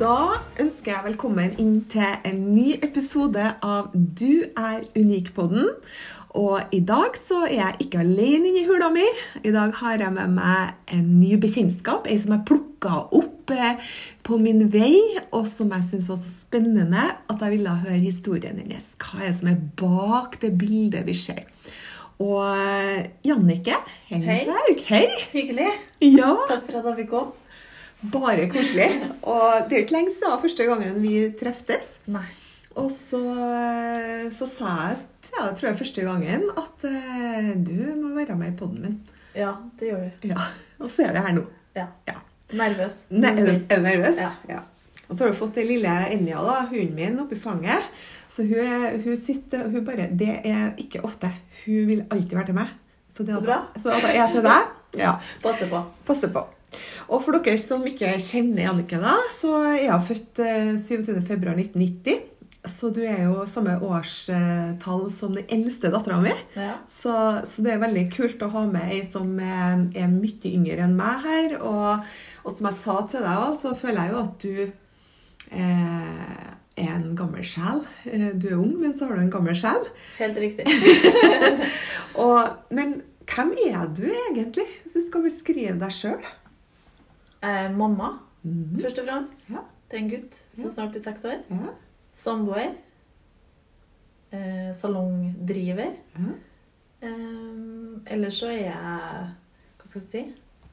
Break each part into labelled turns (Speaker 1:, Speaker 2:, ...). Speaker 1: Da ønsker jeg velkommen inn til en ny episode av Du er unik-podden. Og i dag så er jeg ikke alene inne i hula mi. I dag har jeg med meg en ny bekjentskap. Ei som jeg plukka opp eh, på min vei, og som jeg syns var så spennende at jeg ville høre historien hennes. Hva er det som er bak det bildet vi ser? Og eh, Jannike Helleberg, hei.
Speaker 2: Hyggelig.
Speaker 1: Ja.
Speaker 2: Takk for at jeg fikk komme.
Speaker 1: Bare koselig. Og det er jo ikke lenge siden første gangen vi treftes.
Speaker 2: Nei.
Speaker 1: Og så, så sa jeg til deg, tror jeg første gangen, at eh, du må være med i poden min.
Speaker 2: Ja, det gjorde du.
Speaker 1: Ja, Og så er vi her nå.
Speaker 2: Ja.
Speaker 1: Ja.
Speaker 2: Nervøs.
Speaker 1: Ne er, du, er du nervøs?
Speaker 2: Ja.
Speaker 1: Og så har du fått den lille Enja, da, hunden min, oppi fanget. Så hun, er- hun sitter hun bare Det er ikke ofte. Hun vil alltid være til meg. Så det
Speaker 2: Så bra.
Speaker 1: at, så at jeg er til deg, ja,
Speaker 2: Passe på.
Speaker 1: passe på. Og for dere som ikke kjenner Jannicke, da, så er hun født eh, 27. februar 1990. Så du er jo samme årstall som den eldste dattera mi.
Speaker 2: Ja.
Speaker 1: Så, så det er veldig kult å ha med ei som er, er mye yngre enn meg her. Og, og som jeg sa til deg òg, så føler jeg jo at du eh, er en gammel sjel. Eh, Du er ung, men så har du en gammel sjel.
Speaker 2: Helt riktig.
Speaker 1: Og, men hvem er du egentlig, hvis du skal beskrive deg sjøl?
Speaker 2: Eh, mamma, først og fremst.
Speaker 1: Mm. Ja.
Speaker 2: Det er en gutt som snart blir seks år.
Speaker 1: Ja.
Speaker 2: Samboer. Eh, salongdriver.
Speaker 1: Ja.
Speaker 2: Eh, ellers så er jeg Hva skal jeg si?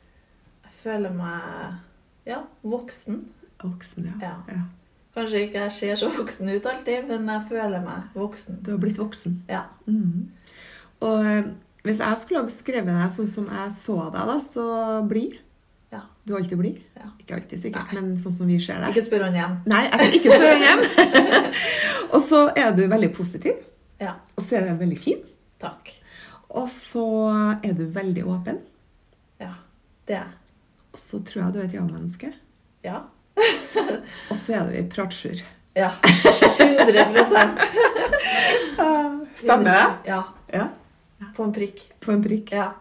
Speaker 2: Jeg føler meg ja, voksen.
Speaker 1: Voksen, ja.
Speaker 2: Ja. Kanskje ikke jeg ser så voksen ut alltid, men jeg føler meg voksen.
Speaker 1: Du har blitt voksen.
Speaker 2: Ja.
Speaker 1: Mhm. Og eh, hvis jeg skulle ha beskrevet deg sånn som jeg så deg, da, så blid.
Speaker 2: Ja.
Speaker 1: Du er alltid blid.
Speaker 2: Ja.
Speaker 1: Ikke alltid, sikkert, men sånn som vi ser deg.
Speaker 2: Ikke spør han hjem.
Speaker 1: Nei, jeg skal ikke spørre hjem. og så er du veldig positiv,
Speaker 2: Ja.
Speaker 1: og så er du veldig fin.
Speaker 2: Takk.
Speaker 1: Og så er du veldig åpen.
Speaker 2: Ja. Det er jeg.
Speaker 1: Og så tror jeg du er et ja-menneske.
Speaker 2: Ja.
Speaker 1: Og så er du ei pratsjur.
Speaker 2: Ja. 100
Speaker 1: Stemmer det?
Speaker 2: Ja.
Speaker 1: Ja.
Speaker 2: På en prikk.
Speaker 1: På en prikk.
Speaker 2: Ja.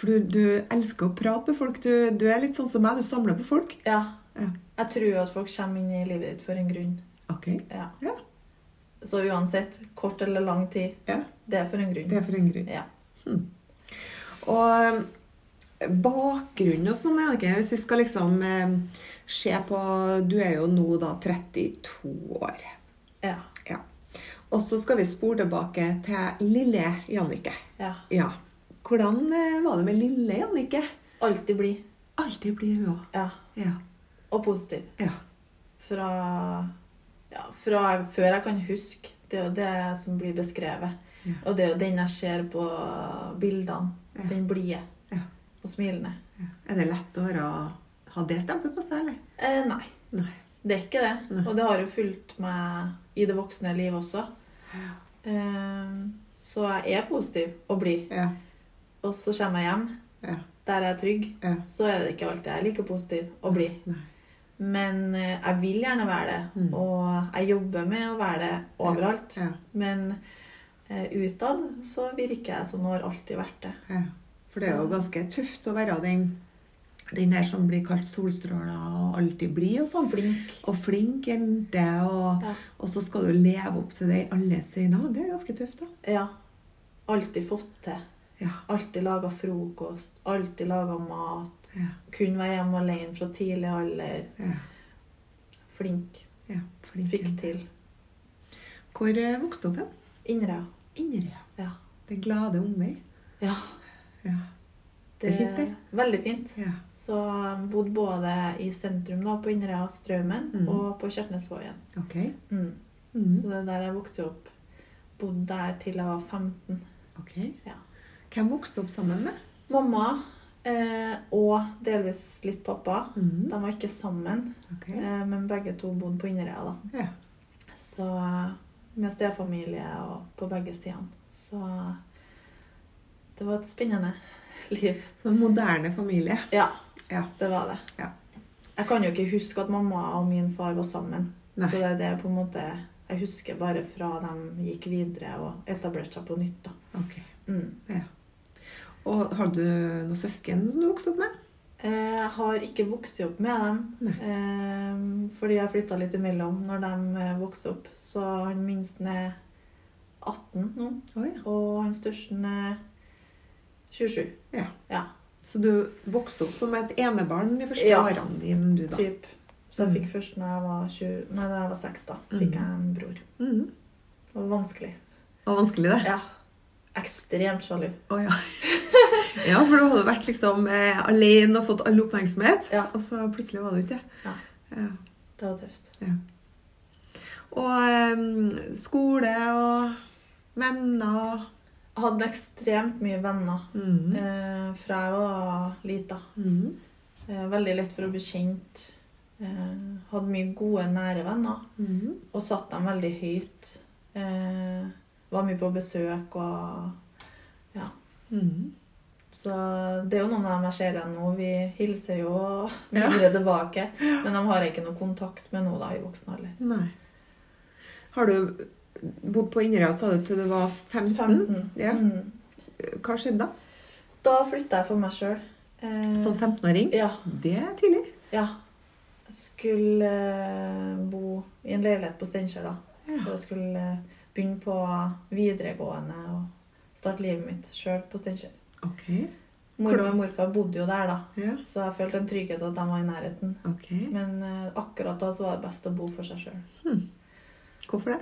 Speaker 1: For du, du elsker å prate med folk. Du, du er litt sånn som meg, du samler på folk.
Speaker 2: Ja.
Speaker 1: Ja.
Speaker 2: Jeg tror jo at folk kommer inn i livet ditt for en grunn.
Speaker 1: Ok.
Speaker 2: Ja.
Speaker 1: Ja.
Speaker 2: Så uansett, kort eller lang tid,
Speaker 1: ja.
Speaker 2: det er for en grunn.
Speaker 1: Det er for en grunn.
Speaker 2: Ja.
Speaker 1: Og eh, bakgrunn og sånn, er det ikke? Hvis vi skal liksom eh, se på Du er jo nå da 32 år.
Speaker 2: Ja.
Speaker 1: Ja. Og så skal vi spore tilbake til lille Jannicke.
Speaker 2: ja.
Speaker 1: Ja. Hvordan eh, var det med lille Jannicke?
Speaker 2: Alltid blid.
Speaker 1: Alltid blir hun òg.
Speaker 2: Ja.
Speaker 1: Ja.
Speaker 2: Og positiv.
Speaker 1: ja.
Speaker 2: Fra, ja, fra før jeg kan huske. Det er jo det som blir beskrevet.
Speaker 1: Ja.
Speaker 2: Og det er jo den jeg ser på bildene.
Speaker 1: Ja.
Speaker 2: Den blide
Speaker 1: Ja.
Speaker 2: og smilende.
Speaker 1: ja. Er det lett å være, ha det stempelet på seg, eller?
Speaker 2: Eh, nei.
Speaker 1: Nei.
Speaker 2: Det er ikke det.
Speaker 1: Nei.
Speaker 2: Og det har jo fulgt meg i det voksne livet også. Ehm, Så jeg er positiv og blid.
Speaker 1: Ja.
Speaker 2: Og så kommer jeg hjem,
Speaker 1: Ja.
Speaker 2: der jeg er trygg.
Speaker 1: Ja.
Speaker 2: Så er det ikke alltid jeg er like positiv og blid.
Speaker 1: Nei.
Speaker 2: Men eh, jeg vil gjerne være det,
Speaker 1: Mm.
Speaker 2: og jeg jobber med å være det overalt.
Speaker 1: Ja.
Speaker 2: Men eh, utad så virker jeg som hun har alltid vært det.
Speaker 1: Ja. For det er jo
Speaker 2: Så-
Speaker 1: ganske tøft å være den, den der som blir kalt solstråla og alltid blid og sånn.
Speaker 2: Flink.
Speaker 1: Og flink jente, og,
Speaker 2: Ja.
Speaker 1: og så skal du leve opp til det i alle sine. Det er ganske tøft, da.
Speaker 2: Ja. Alltid fått til.
Speaker 1: Ja.
Speaker 2: Alltid laga frokost. Alltid laga mat.
Speaker 1: Ja.
Speaker 2: Kunne være hjemme alene fra tidlig alder.
Speaker 1: ja,
Speaker 2: Flink.
Speaker 1: ja flink
Speaker 2: Fikk
Speaker 1: jente.
Speaker 2: til.
Speaker 1: Hvor eh, vokste du opp hen?
Speaker 2: Inderøya.
Speaker 1: Inderøy.
Speaker 2: Ja.
Speaker 1: Den glade ungvei.
Speaker 2: ja.
Speaker 1: Ja. Det er fint, det.
Speaker 2: Veldig fint.
Speaker 1: Ja.
Speaker 2: Så um, bodde både i sentrum, da, på Inderøy og Straumen,
Speaker 1: Mm.
Speaker 2: og på Kjertnesvågen.
Speaker 1: Ok.
Speaker 2: Mm.
Speaker 1: Mm.
Speaker 2: Så det er der jeg vokste opp. Bodde der til jeg var 15.
Speaker 1: ok.
Speaker 2: Ja.
Speaker 1: Hvem vokste du opp sammen med?
Speaker 2: Mamma eh, og delvis litt pappa,
Speaker 1: Mm.
Speaker 2: de var ikke sammen,
Speaker 1: Ok.
Speaker 2: eh, men begge to bodde på Inderøya, da.
Speaker 1: Ja.
Speaker 2: Så med stefamilie og på begge sidene. Så det var et spennende liv.
Speaker 1: Sånn moderne familie.
Speaker 2: Ja,
Speaker 1: Ja.
Speaker 2: det var det.
Speaker 1: Ja.
Speaker 2: Jeg kan jo ikke huske at mamma og min far var sammen.
Speaker 1: Nei.
Speaker 2: Så det er det på en måte jeg husker bare fra de gikk videre og etablerte seg på nytt. da.
Speaker 1: Ok.
Speaker 2: Mm.
Speaker 1: Ja. Og har du noen søsken som du vokste opp med?
Speaker 2: Eh, Jeg har ikke vokst opp med dem,
Speaker 1: Nei.
Speaker 2: eh, fordi jeg flytta litt imellom når de eh, vokste opp. Så han minste er 18 nå,
Speaker 1: Å ja.
Speaker 2: og han største er 27.
Speaker 1: Ja.
Speaker 2: Ja,
Speaker 1: Så du vokste opp som et enebarn de første
Speaker 2: Ja.
Speaker 1: årene dine, du da?
Speaker 2: typ. Så jeg fikk først når jeg var 20, nei, da jeg var 6, da, fikk jeg en bror.
Speaker 1: Mm.
Speaker 2: Det var vanskelig.
Speaker 1: Det var vanskelig, det.
Speaker 2: Ja. Ekstremt sjalu.
Speaker 1: Å ja. ja, for du hadde vært liksom eh, alene og fått all oppmerksomhet,
Speaker 2: Ja.
Speaker 1: og så plutselig var du ikke det.
Speaker 2: Ja.
Speaker 1: Ja.
Speaker 2: Det var tøft.
Speaker 1: Og em, skole og venner
Speaker 2: Jeg hadde ekstremt mye venner
Speaker 1: mm.
Speaker 2: eh, fra jeg var lita.
Speaker 1: Mm.
Speaker 2: Eh, veldig lett for å bli kjent. Eh, hadde mye gode, nære venner.
Speaker 1: Mm.
Speaker 2: Og satt dem veldig høyt. Eh, var mye på besøk og
Speaker 1: Mm.
Speaker 2: Så det er jo noen av dem jeg ser igjen nå. Vi hilser jo videre tilbake. Men de har jeg ikke noe kontakt med nå da, i voksen alder.
Speaker 1: Nei. Har du bodd på Inderøya, sa du, til du var 15?
Speaker 2: 15.
Speaker 1: Ja.
Speaker 2: Mm.
Speaker 1: Hva skjedde da?
Speaker 2: Da flytta jeg for meg sjøl. Eh,
Speaker 1: Som 15-åring?
Speaker 2: Ja,
Speaker 1: Det er tidlig.
Speaker 2: ja. Jeg skulle eh, bo i en leilighet på Steinkjer, da.
Speaker 1: Ja.
Speaker 2: Så jeg skulle eh, begynne på videregående og starte livet mitt sjøl på Steinkjer.
Speaker 1: Ok.
Speaker 2: Mormor
Speaker 1: Hvordan-
Speaker 2: og morfar bodde jo der, da,
Speaker 1: Ja.
Speaker 2: så jeg følte en trygghet at de var i nærheten.
Speaker 1: Ok.
Speaker 2: Men eh, akkurat da så var det best å bo for seg sjøl.
Speaker 1: Hvorfor det?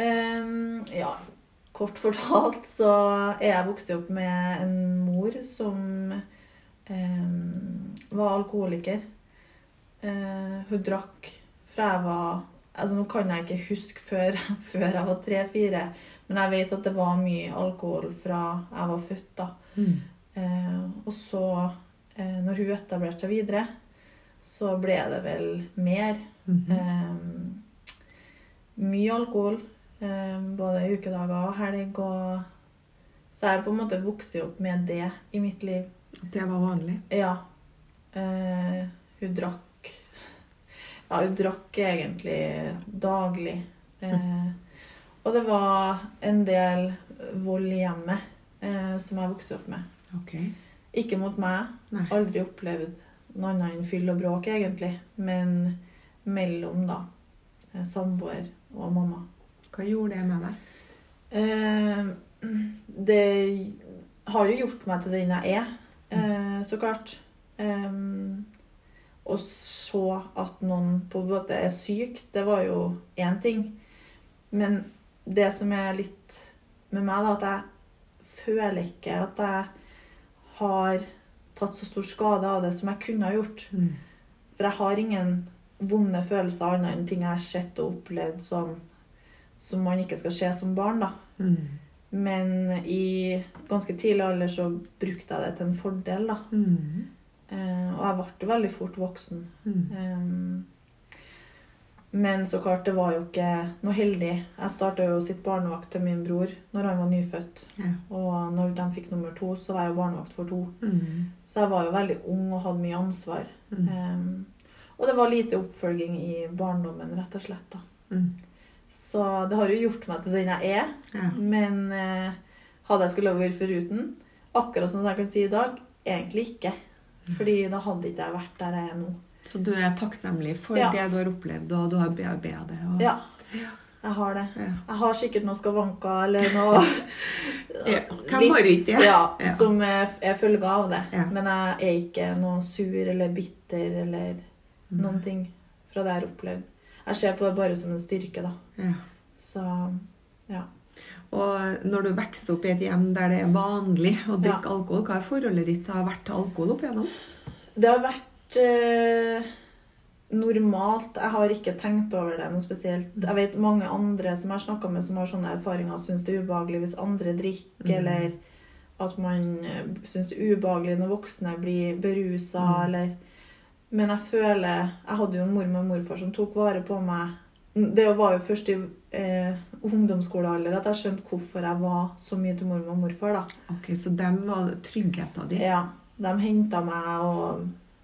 Speaker 2: Ehm, ja, kort fortalt så er jeg vokst opp med en mor som ehm, var alkoholiker. Eh, hun drakk fra jeg var altså Nå kan jeg ikke huske før, før jeg var tre-fire, men jeg vet at det var mye alkohol fra jeg var født. da. Eh, og så, eh, når hun etablerte seg videre, så ble det vel mer.
Speaker 1: Mhm.
Speaker 2: Ehm, mye alkohol, ehm, både i ukedager og helg. Og så jeg har på en måte vokst opp med det i mitt liv.
Speaker 1: Det var vanlig.
Speaker 2: Ja. Eh, hun drakk Ja, hun drakk egentlig daglig. Eh, og det var en del vold i hjemmet eh, som jeg vokste opp med.
Speaker 1: Ok.
Speaker 2: Ikke mot meg,
Speaker 1: Nei.
Speaker 2: aldri opplevd noe annet enn fyll og bråk, egentlig. Men mellom, da. eh, Samboer og mamma.
Speaker 1: Hva gjorde det med deg?
Speaker 2: Eh, det har jo gjort meg til den jeg er, eh, så klart. Eh, og så at noen på en måte er syk, det var jo én ting. Men det som er litt med meg, da, at jeg føler ikke at jeg har tatt så stor skade av det som jeg kunne ha gjort.
Speaker 1: Mm.
Speaker 2: For jeg har ingen vonde følelser annet enn ting jeg har sett og opplevd som, som man ikke skal se som barn. da.
Speaker 1: Mm.
Speaker 2: Men i ganske tidlig alder så brukte jeg det til en fordel, da.
Speaker 1: Mm.
Speaker 2: Eh, og jeg ble veldig fort voksen.
Speaker 1: Mm.
Speaker 2: Ehm, men så klart, det var jo ikke noe heldig. Jeg starta jo å sitte barnevakt til min bror når han var nyfødt.
Speaker 1: Ja.
Speaker 2: Og når de fikk nummer to, så var jeg jo barnevakt for to.
Speaker 1: Mm.
Speaker 2: Så jeg var jo veldig ung og hadde mye ansvar.
Speaker 1: Mm.
Speaker 2: Ehm, og det var lite oppfølging i barndommen, rett og slett. da.
Speaker 1: Mm.
Speaker 2: Så det har jo gjort meg til den jeg er.
Speaker 1: Ja.
Speaker 2: Men eh, hadde jeg skulle ha vært foruten, akkurat som jeg kan si i dag, egentlig ikke. Fordi da hadde ikke jeg vært der jeg er nå.
Speaker 1: Så du er takknemlig for
Speaker 2: Ja.
Speaker 1: det du har opplevd, og du har bearbeidet det. Og...
Speaker 2: Ja, jeg har det.
Speaker 1: Ja.
Speaker 2: Jeg har sikkert noen skavanker eller noe
Speaker 1: Ja. Hvem
Speaker 2: Litt-
Speaker 1: har ikke det?
Speaker 2: ja,
Speaker 1: Ja.
Speaker 2: som er, er følge av det.
Speaker 1: Ja.
Speaker 2: Men jeg er ikke noe sur eller bitter eller noen ting fra det jeg har opplevd. Jeg ser på det bare som en styrke, da.
Speaker 1: Ja.
Speaker 2: Så ja.
Speaker 1: Og når du vokser opp i et hjem der det er vanlig å drikke
Speaker 2: Ja.
Speaker 1: alkohol, hva er forholdet ditt har vært til alkohol opp igjennom?
Speaker 2: Det har vært eh, normalt. Jeg har ikke tenkt over det noe spesielt. Jeg vet mange andre som jeg har snakka med, som har sånne erfaringer, syns det er ubehagelig hvis andre drikker, eller at man eh, syns det er ubehagelig når voksne blir berusa, eller Men jeg føler Jeg hadde jo en mormor og morfar som tok vare på meg. Det var jo først i eh, ungdomsskolealder at jeg skjønte hvorfor jeg var så mye til mormor og morfar. da.
Speaker 1: Ok, Så dem var tryggheten din.
Speaker 2: Ja, de henta meg, og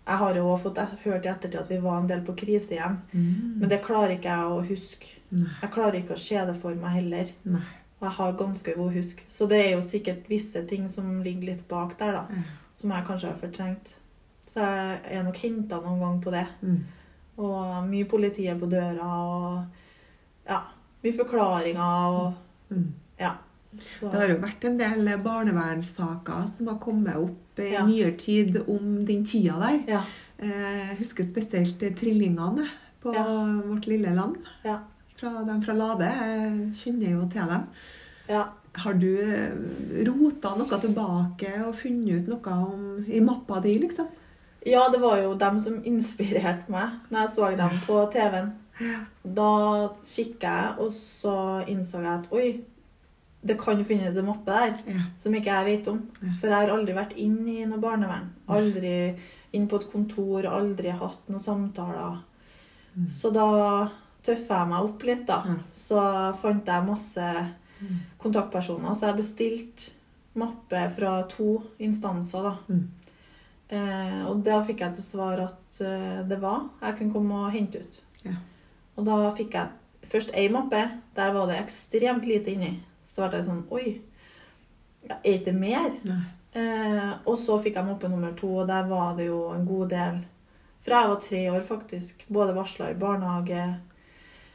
Speaker 2: jeg har jo også fått hørt i ettertid at vi var en del på krisehjem. Men det klarer ikke jeg å huske.
Speaker 1: Mm. Nei.
Speaker 2: Jeg klarer ikke å se det for meg heller.
Speaker 1: Nei.
Speaker 2: Og jeg har ganske god husk. Så det er jo sikkert visse ting som ligger litt bak der, da.
Speaker 1: Ja.
Speaker 2: Som jeg kanskje har fortrengt. Så jeg er nok henta noen gang på det.
Speaker 1: Mm.
Speaker 2: Og mye politiet på døra, og ja. Mye forklaringer og
Speaker 1: Mm.
Speaker 2: Ja. Så,
Speaker 1: Det har jo vært en del barnevernssaker som har kommet opp i
Speaker 2: Ja.
Speaker 1: nyere tid om den tida der.
Speaker 2: ja.
Speaker 1: Eh, Jeg husker spesielt trillingene på
Speaker 2: Ja.
Speaker 1: vårt lille land.
Speaker 2: Ja.
Speaker 1: Fra, de fra Lade. Jeg kjenner jo til dem.
Speaker 2: Ja.
Speaker 1: Har du eh, rota noe tilbake og funnet ut noe om, i mappa di, liksom?
Speaker 2: Ja, det var jo dem som inspirerte meg når jeg så dem på TV-en. Da kikka jeg, og så innså jeg at oi, det kan jo finnes en mappe der
Speaker 1: Ja.
Speaker 2: som ikke jeg vet om.
Speaker 1: Mm. Ja.
Speaker 2: For jeg har aldri vært inn i noe barnevern. Aldri inn på et kontor, aldri hatt noen samtaler. Så da tøffa jeg meg opp litt,
Speaker 1: Mm. Ja. Mm.
Speaker 2: da. Så fant jeg masse kontaktpersoner. Så jeg bestilte mappe fra to instanser, da.
Speaker 1: Mm.
Speaker 2: Eh, og da fikk jeg til svar at eh, det var. Jeg kunne komme og hente ut.
Speaker 1: Ja.
Speaker 2: Og da fikk jeg først ei mappe. Der var det ekstremt lite inni. Så ble jeg sånn Oi, ja, er ikke det mer?
Speaker 1: Nei.
Speaker 2: Eh, og så fikk jeg mappe nummer to, og der var det jo en god del. Fra jeg var tre år, faktisk. Både varsla i barnehage,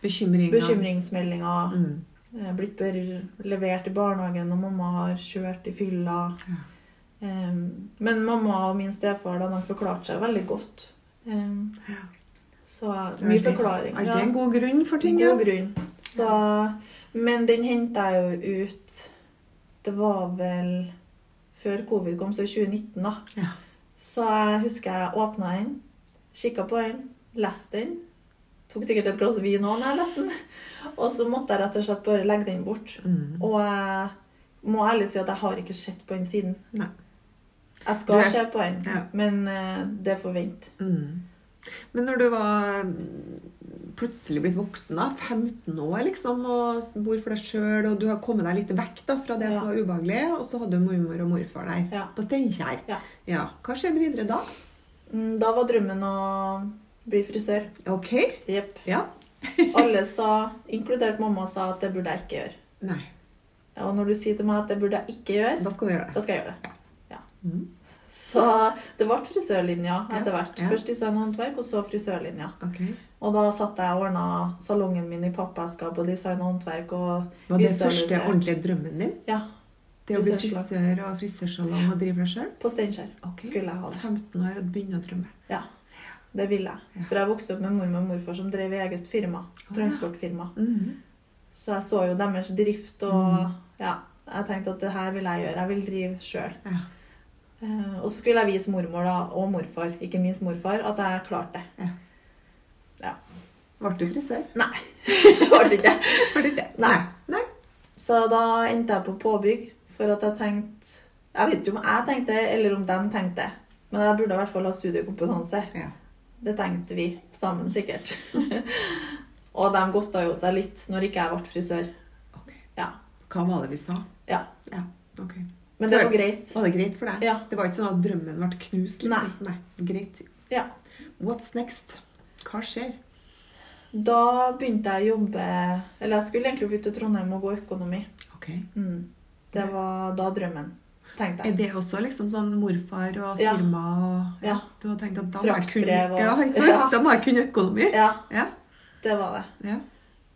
Speaker 1: Bekymringer.
Speaker 2: bekymringsmeldinger,
Speaker 1: Mm.
Speaker 2: eh, blitt ber- levert i barnehagen når mamma har kjørt i fylla.
Speaker 1: Ja.
Speaker 2: Em, men mamma og min stefar da, de forklarte seg veldig godt. Em,
Speaker 1: Ja.
Speaker 2: så
Speaker 1: Det er
Speaker 2: mye
Speaker 1: alltid-
Speaker 2: forklaring.
Speaker 1: Alltid en god grunn for ting.
Speaker 2: God grunn. Så, men den henta jeg jo ut Det var vel før covid kom, så i 2019, da.
Speaker 1: Ja.
Speaker 2: Så jeg husker jeg åpna den, kikka på den, leste den. Tok sikkert et glass vin òg når jeg leste den. Og så måtte jeg rett og slett bare legge den bort.
Speaker 1: Mm.
Speaker 2: Og jeg må ærlig si at jeg har ikke sett på den siden.
Speaker 1: Nei.
Speaker 2: Jeg
Speaker 1: Du
Speaker 2: skal
Speaker 1: er-
Speaker 2: se på den,
Speaker 1: Ja.
Speaker 2: men eh, det får vente.
Speaker 1: Mm. Men når du var mm, plutselig blitt voksen, da, 15 år liksom, og bor for deg sjøl, og du har kommet deg litt vekk da, fra det
Speaker 2: Ja.
Speaker 1: som var ubehagelig, og så hadde du mormor og morfar der
Speaker 2: Ja.
Speaker 1: på Steinkjer.
Speaker 2: Ja.
Speaker 1: Ja. Hva skjedde videre da?
Speaker 2: Mm, Da var drømmen å bli frisør.
Speaker 1: OK?
Speaker 2: Jepp.
Speaker 1: Ja.
Speaker 2: Alle sa, inkludert mamma, sa at det burde jeg ikke gjøre.
Speaker 1: Nei.
Speaker 2: Og når du sier til meg at det burde jeg ikke gjøre,
Speaker 1: Da skal du gjøre
Speaker 2: da
Speaker 1: det.
Speaker 2: skal jeg gjøre det. Ja.
Speaker 1: Mm.
Speaker 2: Så det ble frisørlinja etter hvert.
Speaker 1: ja.
Speaker 2: Først design og håndverk, og så frisørlinja.
Speaker 1: Ok.
Speaker 2: Og da satt jeg og ordna salongen min i pappeska på design og håndverk. Og
Speaker 1: Var det
Speaker 2: visualisert.
Speaker 1: første ordentlige drømmen din?
Speaker 2: Ja.
Speaker 1: Det å bli
Speaker 2: Frisørsalong.
Speaker 1: frisør og frisørsalong og drive deg sjøl?
Speaker 2: På Steinkjer
Speaker 1: Ok.
Speaker 2: skulle jeg ha det.
Speaker 1: 15 år og begynne å drømme.
Speaker 2: Ja, det ville jeg. For jeg vokste opp med mormor og morfar som drev eget firma.
Speaker 1: ja.
Speaker 2: Transportfirma.
Speaker 1: Mm.
Speaker 2: Så jeg så jo deres drift og Ja. Jeg tenkte at det her vil jeg gjøre. Jeg vil drive sjøl.
Speaker 1: Ja.
Speaker 2: Eh, Og så skulle jeg vise mormor da, og morfar, ikke minst morfar, at jeg klarte det.
Speaker 1: Ja.
Speaker 2: Ja.
Speaker 1: Ble du frisør?
Speaker 2: Nei. Det ble det ikke.
Speaker 1: Var det det?
Speaker 2: Nei.
Speaker 1: Nei.
Speaker 2: Så da endte jeg på påbygg, for at jeg tenkte Jeg vet ikke om jeg tenkte det, eller om de tenkte det. Men jeg burde i hvert fall ha studiekompetanse.
Speaker 1: Ja.
Speaker 2: Det tenkte vi sammen, sikkert. og de godta jo seg litt når ikke jeg ble frisør.
Speaker 1: Ok.
Speaker 2: Ja.
Speaker 1: Hva var det vi sa?
Speaker 2: ja.
Speaker 1: Ja, ok.
Speaker 2: Men det
Speaker 1: For-
Speaker 2: var greit.
Speaker 1: Var det greit for deg?
Speaker 2: Ja.
Speaker 1: Det var ikke sånn at drømmen ble knust? liksom? Nei. Greit.
Speaker 2: Ja.
Speaker 1: What's next? Hva skjer?
Speaker 2: Da begynte jeg å jobbe Eller jeg skulle egentlig flytte til Trondheim og gå økonomi.
Speaker 1: Ok.
Speaker 2: Mm. Det var da drømmen, tenkte
Speaker 1: Er
Speaker 2: jeg.
Speaker 1: det også liksom sånn morfar og
Speaker 2: Ja.
Speaker 1: firma og
Speaker 2: Ja.
Speaker 1: Du har tenkt at da må jeg kunne
Speaker 2: Fraktbrev og-
Speaker 1: Ja, ikke sant?
Speaker 2: Ja.
Speaker 1: Da må jeg kunne økonomi.
Speaker 2: Ja,
Speaker 1: Ja.
Speaker 2: det var det.
Speaker 1: ja.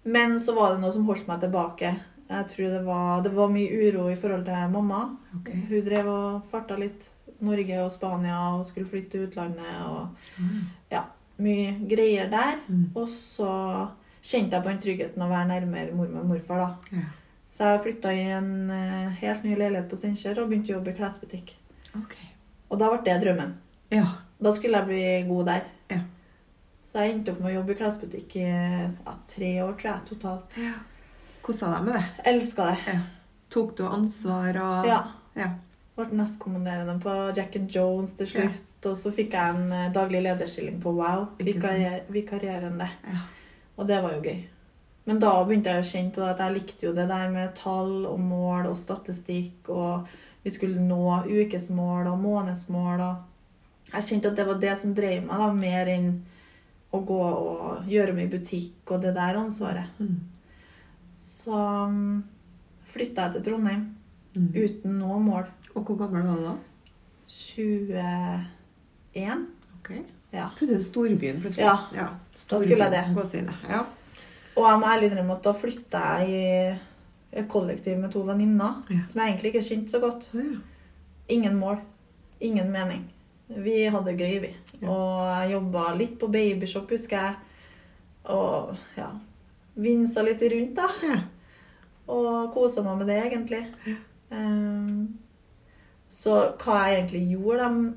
Speaker 2: Men så var det noe som holdt meg tilbake. Jeg tror det var, det var mye uro i forhold til mamma.
Speaker 1: Ok.
Speaker 2: Hun drev og farta litt Norge og Spania og skulle flytte til utlandet og ja, mye greier der.
Speaker 1: Mm.
Speaker 2: Og så kjente jeg på den tryggheten å være nærmere mormor og morfar, da.
Speaker 1: Ja.
Speaker 2: Så jeg flytta i en eh, helt ny leilighet på Steinkjer og begynte å jobbe i klesbutikk.
Speaker 1: Ok.
Speaker 2: Og da ble det drømmen.
Speaker 1: Ja.
Speaker 2: Da skulle jeg bli god der.
Speaker 1: Ja.
Speaker 2: Så jeg endte opp med å jobbe i klesbutikk i ja, tre år, tror jeg, totalt.
Speaker 1: ja. Kosa deg med det?
Speaker 2: Elska det.
Speaker 1: Ja. Tok du ansvar og
Speaker 2: Ja.
Speaker 1: ja.
Speaker 2: Ble nestkommanderende på Jack and Jones til slutt. Og så fikk jeg en eh, daglig lederstilling på Wow,
Speaker 1: Ikke
Speaker 2: vikarier- vikarierende.
Speaker 1: Ja.
Speaker 2: Og det var jo gøy. Men da begynte jeg å kjenne på det at jeg likte jo det der med tall og mål og statistikk, og vi skulle nå ukesmål og månedsmål og Jeg kjente at det var det som drev meg, da, mer enn å gå og gjøre meg i butikk og det der ansvaret.
Speaker 1: Mm.
Speaker 2: Så flytta jeg til Trondheim
Speaker 1: Mm.
Speaker 2: uten noe mål.
Speaker 1: Og hvor gammel var du da?
Speaker 2: 21
Speaker 1: Ok.
Speaker 2: Ja.
Speaker 1: Plutselig storbyen, plutselig.
Speaker 2: Ja.
Speaker 1: Storbyen,
Speaker 2: skulle jeg det.
Speaker 1: Gåsehudene. Ja.
Speaker 2: Og jeg må ærlig innrømme at da flytta jeg i et kollektiv med to venninner
Speaker 1: Ja.
Speaker 2: som jeg egentlig ikke kjente så godt.
Speaker 1: Å, ja.
Speaker 2: Ingen mål. Ingen mening. Vi hadde det gøy, vi.
Speaker 1: Ja.
Speaker 2: Og jeg jobba litt på babyshop, husker jeg. Og ja Vinsa litt rundt, da.
Speaker 1: Ja.
Speaker 2: Og kosa meg med det, egentlig. Ehm, så hva jeg egentlig gjorde de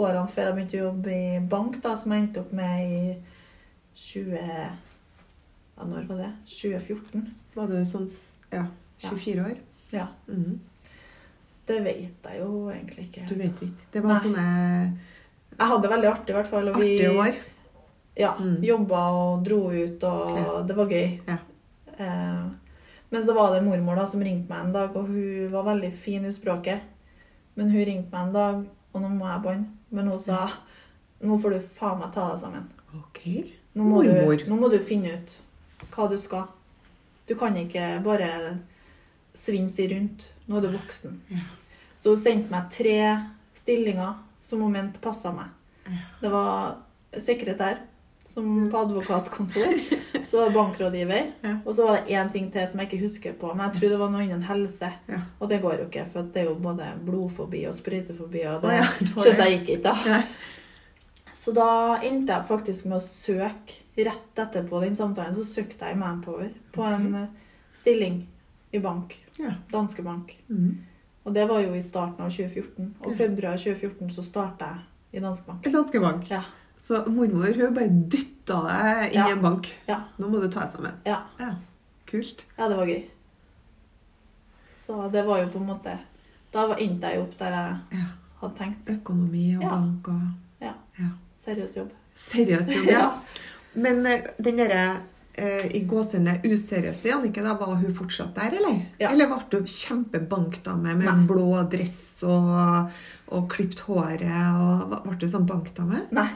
Speaker 2: årene før jeg begynte å jobbe i bank, da, som jeg endte opp med i 20... Ja, når var det? 2014.
Speaker 1: Var du sånn s- ja, 24 år?
Speaker 2: Ja.
Speaker 1: Mm.
Speaker 2: Det vet jeg jo egentlig ikke.
Speaker 1: Du vet ikke. Det var
Speaker 2: Nei.
Speaker 1: sånne
Speaker 2: Jeg hadde det veldig artig, i hvert fall. og vi-
Speaker 1: artige år.
Speaker 2: Ja.
Speaker 1: Mm.
Speaker 2: Jobba og dro ut, og
Speaker 1: Ja.
Speaker 2: det var gøy.
Speaker 1: Ja.
Speaker 2: Eh, men så var det mormor da som ringte meg en dag, og hun var veldig fin i språket. Men hun ringte meg en dag, og nå må jeg banne. Men hun sa
Speaker 1: Mm.
Speaker 2: nå får du faen meg ta deg sammen.
Speaker 1: Ok.
Speaker 2: Nå må, du,
Speaker 1: Mormor.
Speaker 2: nå må du finne ut hva du skal. Du kan ikke bare svinse rundt. Nå er du voksen.
Speaker 1: Ja.
Speaker 2: Så hun sendte meg tre stillinger som hun mente passa meg.
Speaker 1: Ja. Mm.
Speaker 2: Det var sekretær som på advokatkontor, så var det bankrådgiver,
Speaker 1: Ja.
Speaker 2: og så var det én ting til som jeg ikke husker på, men jeg tror det var noe innen helse.
Speaker 1: Ja.
Speaker 2: Og det går jo ikke, for det er jo både blodfobi og sprøytefobi, og det
Speaker 1: Å ja, det var det.
Speaker 2: skjønte jeg ikke da.
Speaker 1: Nei.
Speaker 2: Så da endte jeg faktisk med å søke rett etterpå den samtalen. Så søkte jeg i Manpower på en eh, stilling i bank.
Speaker 1: Ja.
Speaker 2: Danske Bank.
Speaker 1: Mm.
Speaker 2: Og det var jo i starten av 2014. Og i februar 2014 så starta jeg i Danske Bank.
Speaker 1: En Danske bank.
Speaker 2: Ja.
Speaker 1: Så mormor hun bare dytta deg inn i
Speaker 2: Ja.
Speaker 1: en bank.
Speaker 2: Ja.
Speaker 1: Nå må du ta deg sammen.
Speaker 2: Ja.
Speaker 1: Ja. Kult.
Speaker 2: ja, det var gøy. Så det var jo på en måte Da var- endte jeg jo opp der jeg
Speaker 1: Ja.
Speaker 2: hadde tenkt.
Speaker 1: Økonomi og
Speaker 2: Ja.
Speaker 1: bank og
Speaker 2: Ja.
Speaker 1: ja.
Speaker 2: Seriøs jobb.
Speaker 1: Seriøs jobb, ja.
Speaker 2: Ja.
Speaker 1: Men eh, den derre eh, i gåsehudene useriøse Jannicke, da var hun fortsatt der, eller?
Speaker 2: Ja.
Speaker 1: Eller ble du kjempebankdame med
Speaker 2: Nei.
Speaker 1: blå dress og, og klipt håret? Og, Hva- ble du sånn bankdame?
Speaker 2: Nei.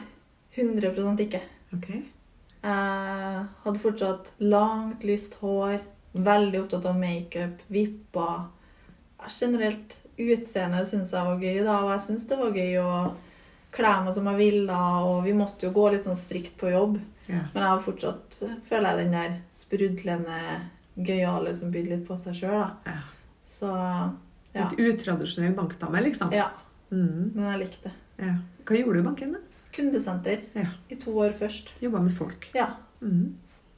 Speaker 2: 100 ikke.
Speaker 1: Ok.
Speaker 2: Jeg Eh, hadde fortsatt langt, lyst hår, veldig opptatt av makeup, vipper. Ja, Generelt utseende syns jeg var gøy, da, og jeg syns det var gøy å kle meg som jeg ville. Og vi måtte jo gå litt sånn strikt på jobb,
Speaker 1: Ja.
Speaker 2: men jeg har fortsatt, føler jeg, den der sprudlende, gøyale som byr litt på seg sjøl, da.
Speaker 1: ja.
Speaker 2: Så ja.
Speaker 1: Litt utradisjonell bankdame, liksom?
Speaker 2: ja.
Speaker 1: Mm,
Speaker 2: Men jeg likte det.
Speaker 1: ja. Hva gjorde du i banken, da?
Speaker 2: Kundesenter
Speaker 1: Ja.
Speaker 2: i to år først.
Speaker 1: Jobba med folk.
Speaker 2: Ja.
Speaker 1: Mm,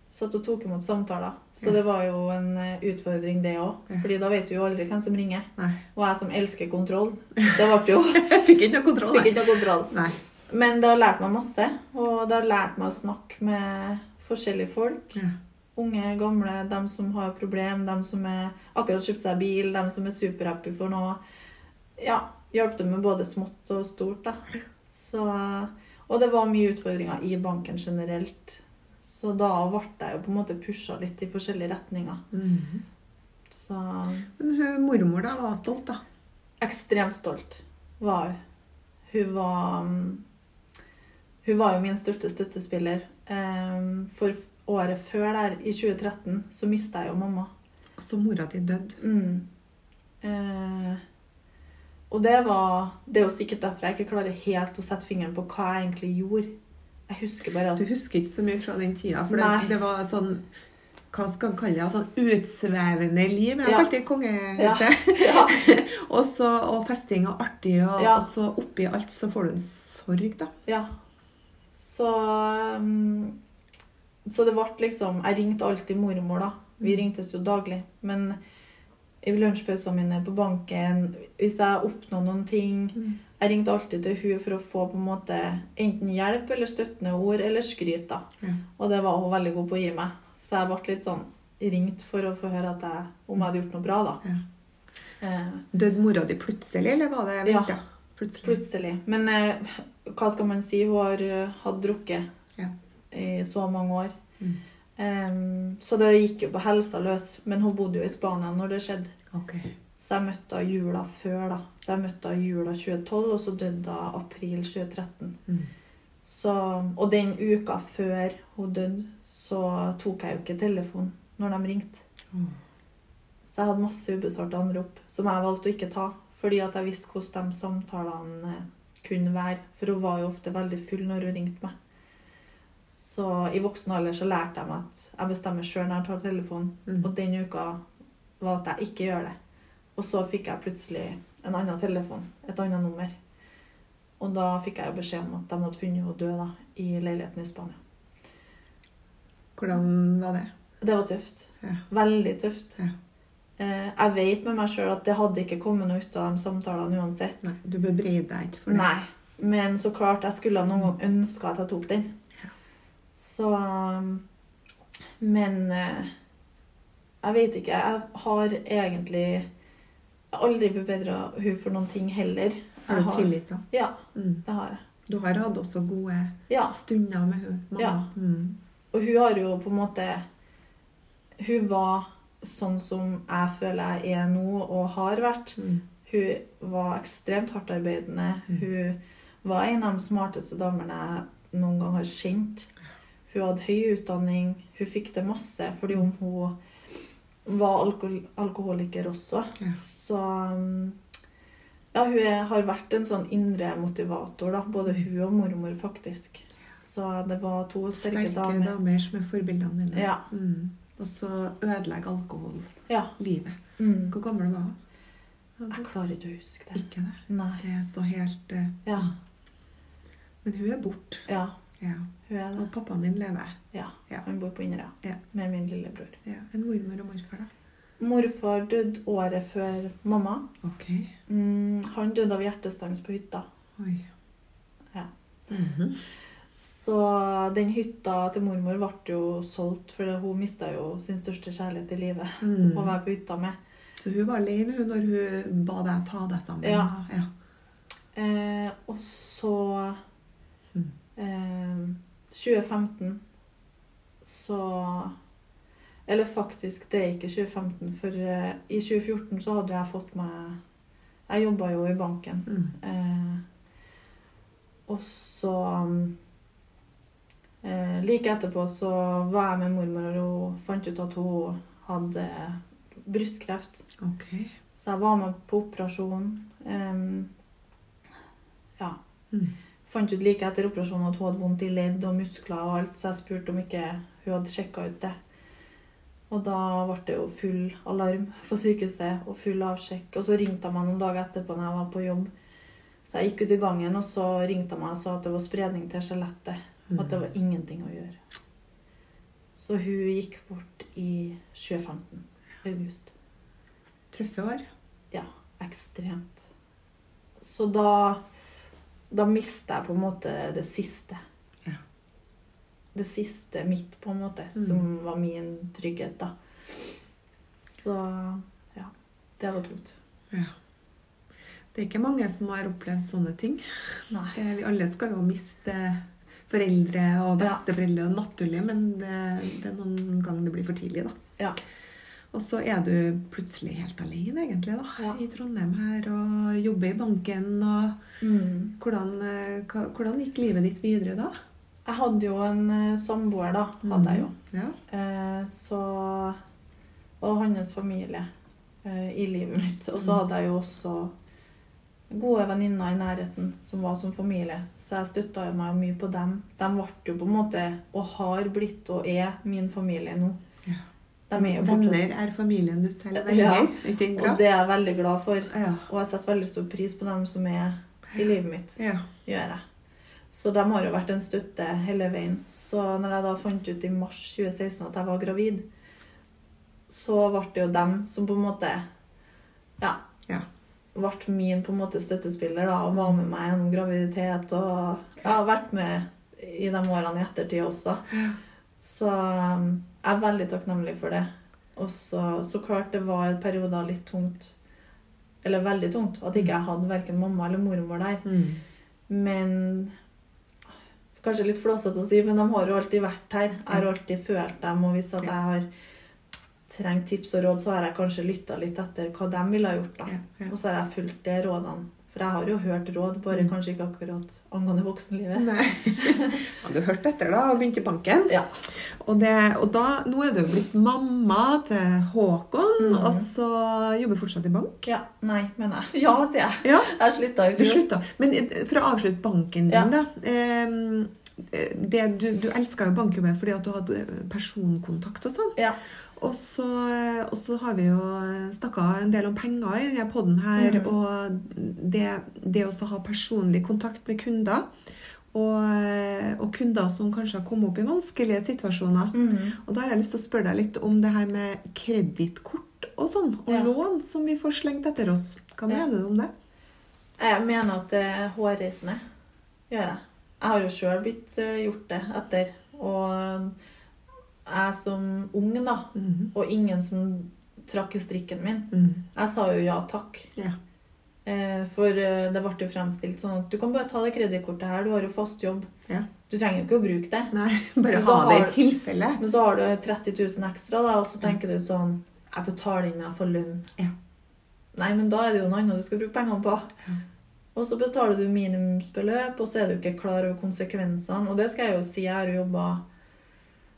Speaker 2: satt og tok imot samtaler. Så
Speaker 1: Ja.
Speaker 2: det var jo en eh, utfordring, det òg.
Speaker 1: Ja.
Speaker 2: Fordi da vet du jo aldri hvem som ringer.
Speaker 1: nei.
Speaker 2: Og jeg som elsker kontroll. Det ble jo
Speaker 1: Jeg fikk ikke noe kontroll,
Speaker 2: Fikk
Speaker 1: nei.
Speaker 2: ikke noe kontroll.
Speaker 1: nei.
Speaker 2: Men det har lært meg masse. Og det har lært meg å snakke med forskjellige folk.
Speaker 1: Ja.
Speaker 2: Unge, gamle, dem som har problem, dem som er, akkurat kjøpt seg bil, dem som er superhappy for noe. Ja, hjalp dem med både smått og stort, da. Så, og det var mye utfordringer i banken generelt. Så da ble jeg jo på en måte pusha litt i forskjellige retninger.
Speaker 1: Mm.
Speaker 2: Så
Speaker 1: Men hun mormor da var stolt, da.
Speaker 2: ekstremt stolt var hun. Hun var mm, Hun var jo min største støttespiller. Ehm, For f- året før der, i 2013, så mista jeg jo mamma.
Speaker 1: Og så mora di døde.
Speaker 2: Mm. Eh, og det var Det er jo sikkert derfor jeg ikke klarer helt å sette fingeren på hva jeg egentlig gjorde. Jeg husker bare at
Speaker 1: Du husker ikke så mye fra den tida, for det,
Speaker 2: Nei.
Speaker 1: det var sånn hva skal man kalle det? Sånn utsvevende liv. Jeg
Speaker 2: Ja.
Speaker 1: kalte det kongehuset.
Speaker 2: ja,
Speaker 1: og så og festing og artig, og,
Speaker 2: Ja.
Speaker 1: og så oppi alt så får du en sorg, da.
Speaker 2: Ja. Så um,
Speaker 1: Mm.
Speaker 2: Så det ble liksom Jeg ringte alltid mormor, da. Vi ringtes jo daglig. Men i lunsjpausene mine på banken, hvis jeg oppnår noen ting.
Speaker 1: Mm.
Speaker 2: Jeg ringte alltid til hun for å få på en måte enten hjelp eller støttende ord eller skryt. da.
Speaker 1: Ja.
Speaker 2: Og det var hun veldig god på å gi meg. Så jeg ble litt sånn ringt for å få høre at jeg, om jeg hadde gjort noe bra. da.
Speaker 1: Ja.
Speaker 2: Eh,
Speaker 1: Døde mora di plutselig, eller var det
Speaker 2: Ja.
Speaker 1: ventet? Plutselig.
Speaker 2: plutselig. Men eh, hva skal man si? Hun har eh, hatt drukket
Speaker 1: Ja.
Speaker 2: i så mange år.
Speaker 1: Mm.
Speaker 2: Em, så det gikk jo på helsa løs. Men hun bodde jo i Spania når det skjedde.
Speaker 1: Ok.
Speaker 2: Så jeg møtte henne jula før, da. Så jeg møtte henne jula 2012, og så døde hun april 2013.
Speaker 1: Mm.
Speaker 2: Så, og den uka før hun døde, så tok jeg jo ikke telefonen når de ringte.
Speaker 1: Mm.
Speaker 2: Så jeg hadde masse ubesvarte anrop som jeg valgte å ikke ta. Fordi at jeg visste hvordan de samtalene eh, kunne være. For hun var jo ofte veldig full når hun ringte meg. Så i voksen alder så lærte jeg meg at jeg bestemmer sjøl når jeg tar telefonen.
Speaker 1: Mm.
Speaker 2: Og den uka var at jeg ikke gjør det. Og så fikk jeg plutselig en annen telefon. Et annet nummer. Og da fikk jeg jo beskjed om at de hadde funnet henne død da, i leiligheten i Spania.
Speaker 1: Hvordan var det?
Speaker 2: Det var tøft.
Speaker 1: Ja.
Speaker 2: Veldig tøft.
Speaker 1: Ja.
Speaker 2: Eh, jeg vet med meg sjøl at det hadde ikke kommet noe ut av de samtalene uansett.
Speaker 1: Nei, du bebreider deg ikke for det.
Speaker 2: Nei. Men så klart, jeg skulle noen gang ønske at jeg tok den.
Speaker 1: Ja.
Speaker 2: Så um, Men eh, jeg vet ikke. Jeg har egentlig jeg har aldri bebedra hun for noen ting heller.
Speaker 1: Har
Speaker 2: Jeg
Speaker 1: du tillit, da?
Speaker 2: Ja,
Speaker 1: Mm.
Speaker 2: det har jeg.
Speaker 1: Du har hatt også gode
Speaker 2: Ja.
Speaker 1: stunder med hun, mamma.
Speaker 2: Ja.
Speaker 1: Mm.
Speaker 2: Og hun har jo på en måte Hun var sånn som jeg føler jeg er nå og har vært.
Speaker 1: Mm.
Speaker 2: Hun var ekstremt hardtarbeidende. Hun var en av de smarteste damene jeg noen gang har kjent. Hun hadde høy utdanning. Hun fikk det masse fordi om
Speaker 1: Mm.
Speaker 2: hun var alko alkoholiker også.
Speaker 1: Ja.
Speaker 2: Så um, ja, hun er, har vært en sånn indre motivator, da. Både
Speaker 1: Mm.
Speaker 2: hun og mormor, faktisk. Så det var to sterke,
Speaker 1: Sterke
Speaker 2: damer.
Speaker 1: damer som er forbildene dine.
Speaker 2: Ja.
Speaker 1: Mm. Og så ødelegger alkohol
Speaker 2: Ja.
Speaker 1: livet.
Speaker 2: Mm.
Speaker 1: Hvor gammel var hun?
Speaker 2: Jeg klarer ikke å huske det.
Speaker 1: Ikke det.
Speaker 2: Nei.
Speaker 1: Det er så helt eh,
Speaker 2: Ja.
Speaker 1: Men hun er borte.
Speaker 2: ja.
Speaker 1: Ja.
Speaker 2: Hun er det.
Speaker 1: Og pappaen din lever.
Speaker 2: Ja.
Speaker 1: Ja.
Speaker 2: Hun bor på Inderøya
Speaker 1: Ja.
Speaker 2: med min lillebror.
Speaker 1: Ja. En mormor og morfar, da.
Speaker 2: Morfar døde året før mamma.
Speaker 1: Ok.
Speaker 2: Mm, han døde av hjertestans på hytta.
Speaker 1: Oi.
Speaker 2: Ja.
Speaker 1: Mhm.
Speaker 2: Så den hytta til mormor ble jo solgt, for hun mista jo sin største kjærlighet i livet.
Speaker 1: Mm.
Speaker 2: Å være på hytta med.
Speaker 1: Så hun var alene hun, når hun ba deg ta deg sammen.
Speaker 2: Ja.
Speaker 1: da. ja.
Speaker 2: Eh, og så
Speaker 1: Mm.
Speaker 2: eh, 2015 så Eller faktisk, det er ikke 2015, for eh, i 2014 så hadde jeg fått meg Jeg jobba jo i banken.
Speaker 1: Mm.
Speaker 2: Eh, og så um, eh, Like etterpå så var jeg med mormor, og hun fant ut at hun hadde brystkreft.
Speaker 1: Ok.
Speaker 2: Så jeg var med på operasjon. em, ja.
Speaker 1: Mm.
Speaker 2: Fant ut like etter operasjonen at hun hadde vondt i ledd og muskler og alt, så jeg spurte om ikke hun hadde sjekka ut det. Og da ble det jo full alarm på sykehuset og full avsjekk. Og så ringte hun meg noen dager etterpå når jeg var på jobb. Så jeg gikk ut i gangen, og så ringte hun meg og sa at det var spredning til skjelettet.
Speaker 1: Mm.
Speaker 2: Og at det var ingenting å gjøre. Så hun gikk bort i 2015. August.
Speaker 1: Tøffe år.
Speaker 2: Ja, ekstremt. Så da Da mista jeg på en måte det siste.
Speaker 1: Ja.
Speaker 2: Det siste mitt, på en måte, som var min trygghet, da. Så ja. Det var tungt.
Speaker 1: Ja. Det er ikke mange som har opplevd sånne ting.
Speaker 2: Nei.
Speaker 1: Det, vi alle skal jo miste foreldre og
Speaker 2: Ja.
Speaker 1: besteforeldre og naturlig, men det, det er noen ganger det blir for tidlig, da.
Speaker 2: Ja.
Speaker 1: Og så er du plutselig helt alene, egentlig, da,
Speaker 2: Ja.
Speaker 1: i Trondheim her, og jobber i banken. og
Speaker 2: Mm.
Speaker 1: hvordan, eh, hva, hvordan gikk livet ditt videre da?
Speaker 2: Jeg hadde jo en eh, samboer, da. Hadde jeg jo.
Speaker 1: Ja.
Speaker 2: Eh, så Og hans familie eh, i livet mitt. Og
Speaker 1: Mm.
Speaker 2: så hadde jeg jo også gode venninner i nærheten som var som familie, så jeg støtta jo meg mye på dem. De ble jo på en måte, og har blitt og er, min familie nå.
Speaker 1: Ja.
Speaker 2: De er jo fortsatt
Speaker 1: Venner er familien du selv
Speaker 2: Ja.
Speaker 1: velger. Ikke det
Speaker 2: Og
Speaker 1: Mm, bra?
Speaker 2: det er jeg veldig glad for.
Speaker 1: Ja.
Speaker 2: Og jeg setter veldig stor pris på dem som er i livet mitt
Speaker 1: Ja.
Speaker 2: gjør jeg. Så de har jo vært en støtte hele veien. Så når jeg da fant ut i mars 2016 at jeg var gravid, så ble det jo dem som på en måte ja,
Speaker 1: Ja.
Speaker 2: ble min på en måte støttespiller da, og var med meg gjennom graviditet. Og jeg har vært med i de årene i ettertid også. Så um, jeg er veldig takknemlig for det. Og så så klart det var perioder litt tungt, eller veldig tungt, at ikke jeg hadde verken mamma eller mormor der.
Speaker 1: Mm.
Speaker 2: Men Kanskje litt flåsete å si, men de har jo alltid vært her. Jeg har alltid følt dem, og hvis at jeg har trengt tips og råd, så har jeg kanskje lytta litt etter hva de ville ha gjort, da.
Speaker 1: Ja, ja.
Speaker 2: Og så har jeg fulgt de rådene. For jeg har jo hørt råd, bare kanskje ikke akkurat angående voksenlivet.
Speaker 1: Nei. Ja, du hørte etter da, og begynte i banken.
Speaker 2: Ja.
Speaker 1: Og, det, og da, nå er du jo blitt mamma til Håkon, og så jobber fortsatt i bank.
Speaker 2: ja. Nei, mener jeg. Ja, sier jeg.
Speaker 1: Ja.
Speaker 2: Jeg slutta i
Speaker 1: Du
Speaker 2: fjor.
Speaker 1: slutta. Men eh, for å avslutte banken din,
Speaker 2: Ja.
Speaker 1: da. ehm, eh, det, du du elska jo bankjobben fordi at du hadde eh, personkontakt og sånn.
Speaker 2: Ja.
Speaker 1: Og så, eh, og så har vi jo snakka en del om penger i denne poden her. Og det, det også å ha personlig kontakt med kunder, og, og kunder som kanskje har kommet opp i vanskelige situasjoner.
Speaker 2: Mm.
Speaker 1: Og da har jeg lyst til å spørre deg litt om det her med kredittkort og sånn, og
Speaker 2: Ja.
Speaker 1: lån som vi får slengt etter oss. Hva
Speaker 2: Ja.
Speaker 1: mener du om det?
Speaker 2: Jeg mener at det er hårreisende. Gjør jeg. Jeg har jo sjøl blitt eh, gjort det etter. Og jeg som ung, da, og ingen som trakk i strikken min,
Speaker 1: Mhm.
Speaker 2: jeg sa jo ja takk.
Speaker 1: Ja.
Speaker 2: Eh, For eh, det ble jo fremstilt sånn at du kan bare ta det kredittkortet her, du har jo fast jobb.
Speaker 1: ja.
Speaker 2: Du trenger jo ikke å bruke det.
Speaker 1: Nei, bare
Speaker 2: Men
Speaker 1: ha
Speaker 2: da
Speaker 1: det i
Speaker 2: har-
Speaker 1: tilfelle.
Speaker 2: Men så har du 30 000 ekstra, da, og så tenker du sånn Jeg betaler inn når jeg får lønn.
Speaker 1: Ja.
Speaker 2: Nei, men da er det jo noe annet du skal bruke pengene på. Og så betaler du minimumsbeløp, og så er du ikke klar over konsekvensene. Og det skal jeg jo si, jeg har jo jobba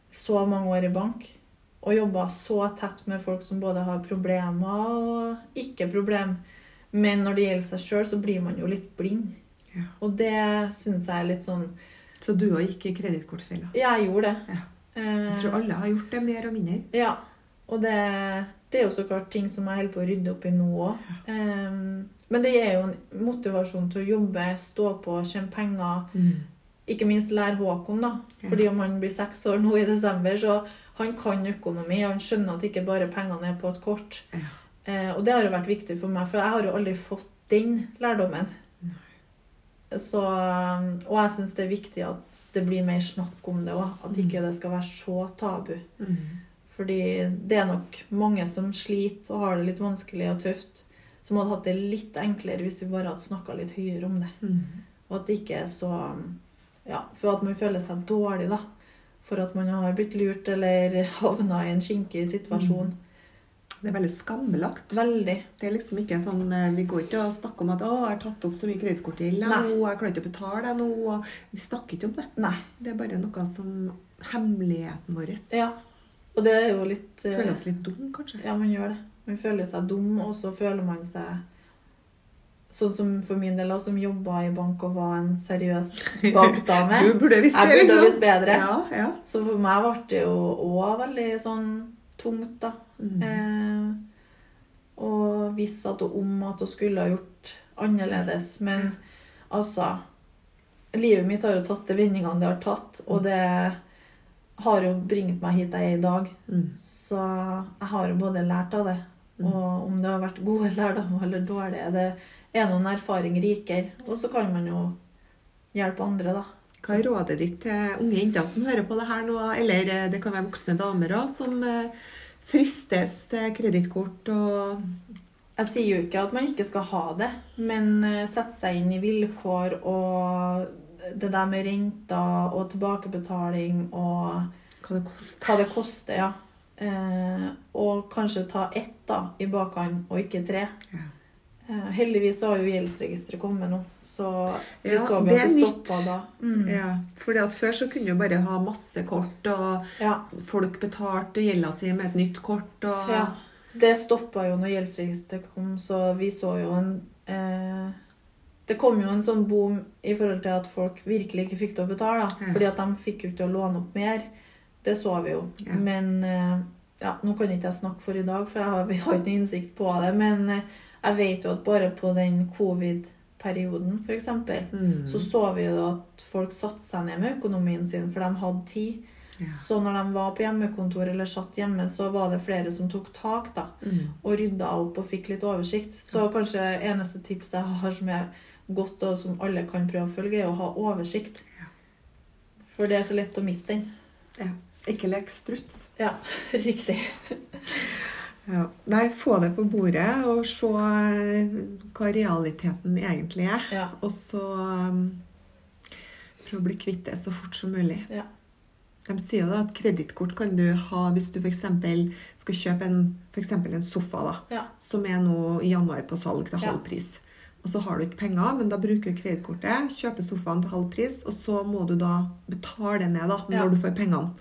Speaker 2: så mange år i bank. Og jobba så tett med folk som både har problemer og ikke problem. Men når det gjelder seg sjøl, så blir man jo litt blind.
Speaker 1: Ja.
Speaker 2: Og det syns jeg er litt sånn
Speaker 1: Så du òg gikk i kredittkortfella.
Speaker 2: Jeg gjorde det.
Speaker 1: Ja. Jeg tror alle har gjort det mer og mindre.
Speaker 2: Ja, og det, det er jo så klart ting som jeg holder på å rydde opp i nå òg. men det er jo en motivasjon til å jobbe, stå på, tjene penger. Ikke minst lære Håkon, da. Fordi om han blir seks år nå i desember, så han kan økonomi. og Han skjønner at ikke bare pengene er på et kort.
Speaker 1: Ja.
Speaker 2: Eh, og det har jo vært viktig for meg, for jeg har jo aldri fått den lærdommen. Så, ehm, og jeg syns det er viktig at det blir mer snakk om det òg. At ikke det skal være så tabu. Mhm. Fordi det er nok mange som sliter og har det litt vanskelig og tøft, som hadde hatt det litt enklere hvis vi bare hadde snakka litt høyere om det.
Speaker 1: Mhm.
Speaker 2: Og at det ikke er så Ja, for at man føler seg dårlig, da. For at man har blitt lurt eller havna i en kinkig situasjon.
Speaker 1: Mm. Det er veldig skambelagt.
Speaker 2: Veldig.
Speaker 1: Det er liksom ikke sånn, eh, Vi går ikke og snakker om at 'Å, jeg har tatt opp så mye kredittkortgjeld jeg
Speaker 2: Nei.
Speaker 1: nå, jeg klarer ikke å betale jeg nå og Vi snakker ikke om det.
Speaker 2: Nei.
Speaker 1: Det er bare noe som Hemmeligheten vår.
Speaker 2: Ja. Og det er jo litt eh,
Speaker 1: Føler oss litt dum, kanskje.
Speaker 2: Ja, man gjør det. Man føler seg dum, og så føler man seg Sånn som for min del, da, som jobba i bank og var en seriøs bankdame.
Speaker 1: Du burde visst det,
Speaker 2: Jeg burde
Speaker 1: liksom.
Speaker 2: visst bedre.
Speaker 1: Ja, ja.
Speaker 2: Så for meg ble det jo òg veldig sånn tungt, da. Eh, og visste at og om at hun skulle ha gjort annerledes. Men altså Livet mitt har jo tatt de vendingene det har tatt, og det har jo bringet meg hit jeg er i dag. Så jeg har jo både lært av det. Og om det har vært gode lærdommer eller dårlige, det er noen erfaring rikere. Og så kan man jo hjelpe andre, da.
Speaker 1: Hva er rådet ditt til unge jenter som hører på det her nå, eller eh, det kan være voksne damer òg, som eh, fristes til kredittkort og
Speaker 2: Jeg sier jo ikke at man ikke skal ha det, men eh, sette seg inn i vilkår og det der med renter og tilbakebetaling og
Speaker 1: hva det koster?
Speaker 2: hva det koster, ja. Eh, og kanskje ta ett da, i bakhånd, og ikke tre.
Speaker 1: Ja.
Speaker 2: Eh, heldigvis så har jo gjeldsregisteret kommet nå, så vi
Speaker 1: Ja,
Speaker 2: så jo
Speaker 1: det
Speaker 2: at
Speaker 1: er
Speaker 2: det
Speaker 1: nytt.
Speaker 2: stoppa da. Mm.
Speaker 1: Ja, fordi at Før så kunne du bare ha masse kort, og
Speaker 2: Ja.
Speaker 1: folk betalte gjelda si med et nytt kort. og...
Speaker 2: Ja. Det stoppa jo når gjeldsregisteret kom, så vi så jo en eh, Det kom jo en sånn boom i forhold til at folk virkelig ikke fikk til å betale. Da.
Speaker 1: Ja.
Speaker 2: Fordi at de fikk jo ikke til å låne opp mer. Det så vi jo.
Speaker 1: Ja.
Speaker 2: Men eh, ja, nå kan ikke jeg snakke for i dag, for jeg har, vi har ikke noe innsikt på det. Men eh, jeg vet jo at bare på den covid-perioden,
Speaker 1: Mm.
Speaker 2: f.eks., eksempel, så så vi jo at folk satte seg ned med økonomien sin, for de hadde tid. Så når de var på hjemmekontor eller satt hjemme, så var det flere som tok tak da, og rydda opp og fikk litt oversikt. Så kanskje eneste tips jeg har som er godt, og som alle kan prøve å følge, er å ha oversikt.
Speaker 1: Ja.
Speaker 2: For det er så lett å miste den.
Speaker 1: Ja. Ikke lek struts.
Speaker 2: Ja, riktig.
Speaker 1: Ja. Nei, få det på bordet og se eh, hva realiteten egentlig er.
Speaker 2: Ja.
Speaker 1: Og så um, prøve å bli kvitt det så fort som mulig.
Speaker 2: Ja.
Speaker 1: De sier jo da at kredittkort kan du ha hvis du f.eks. skal kjøpe en, for eksempel en sofa, da,
Speaker 2: Ja.
Speaker 1: som er nå i januar på salg til
Speaker 2: Ja.
Speaker 1: halv pris. Og så har du ikke penger, men da bruker du kredittkortet, kjøper sofaen til halv pris, og så må du da betale ned da, når
Speaker 2: Ja.
Speaker 1: du får pengene.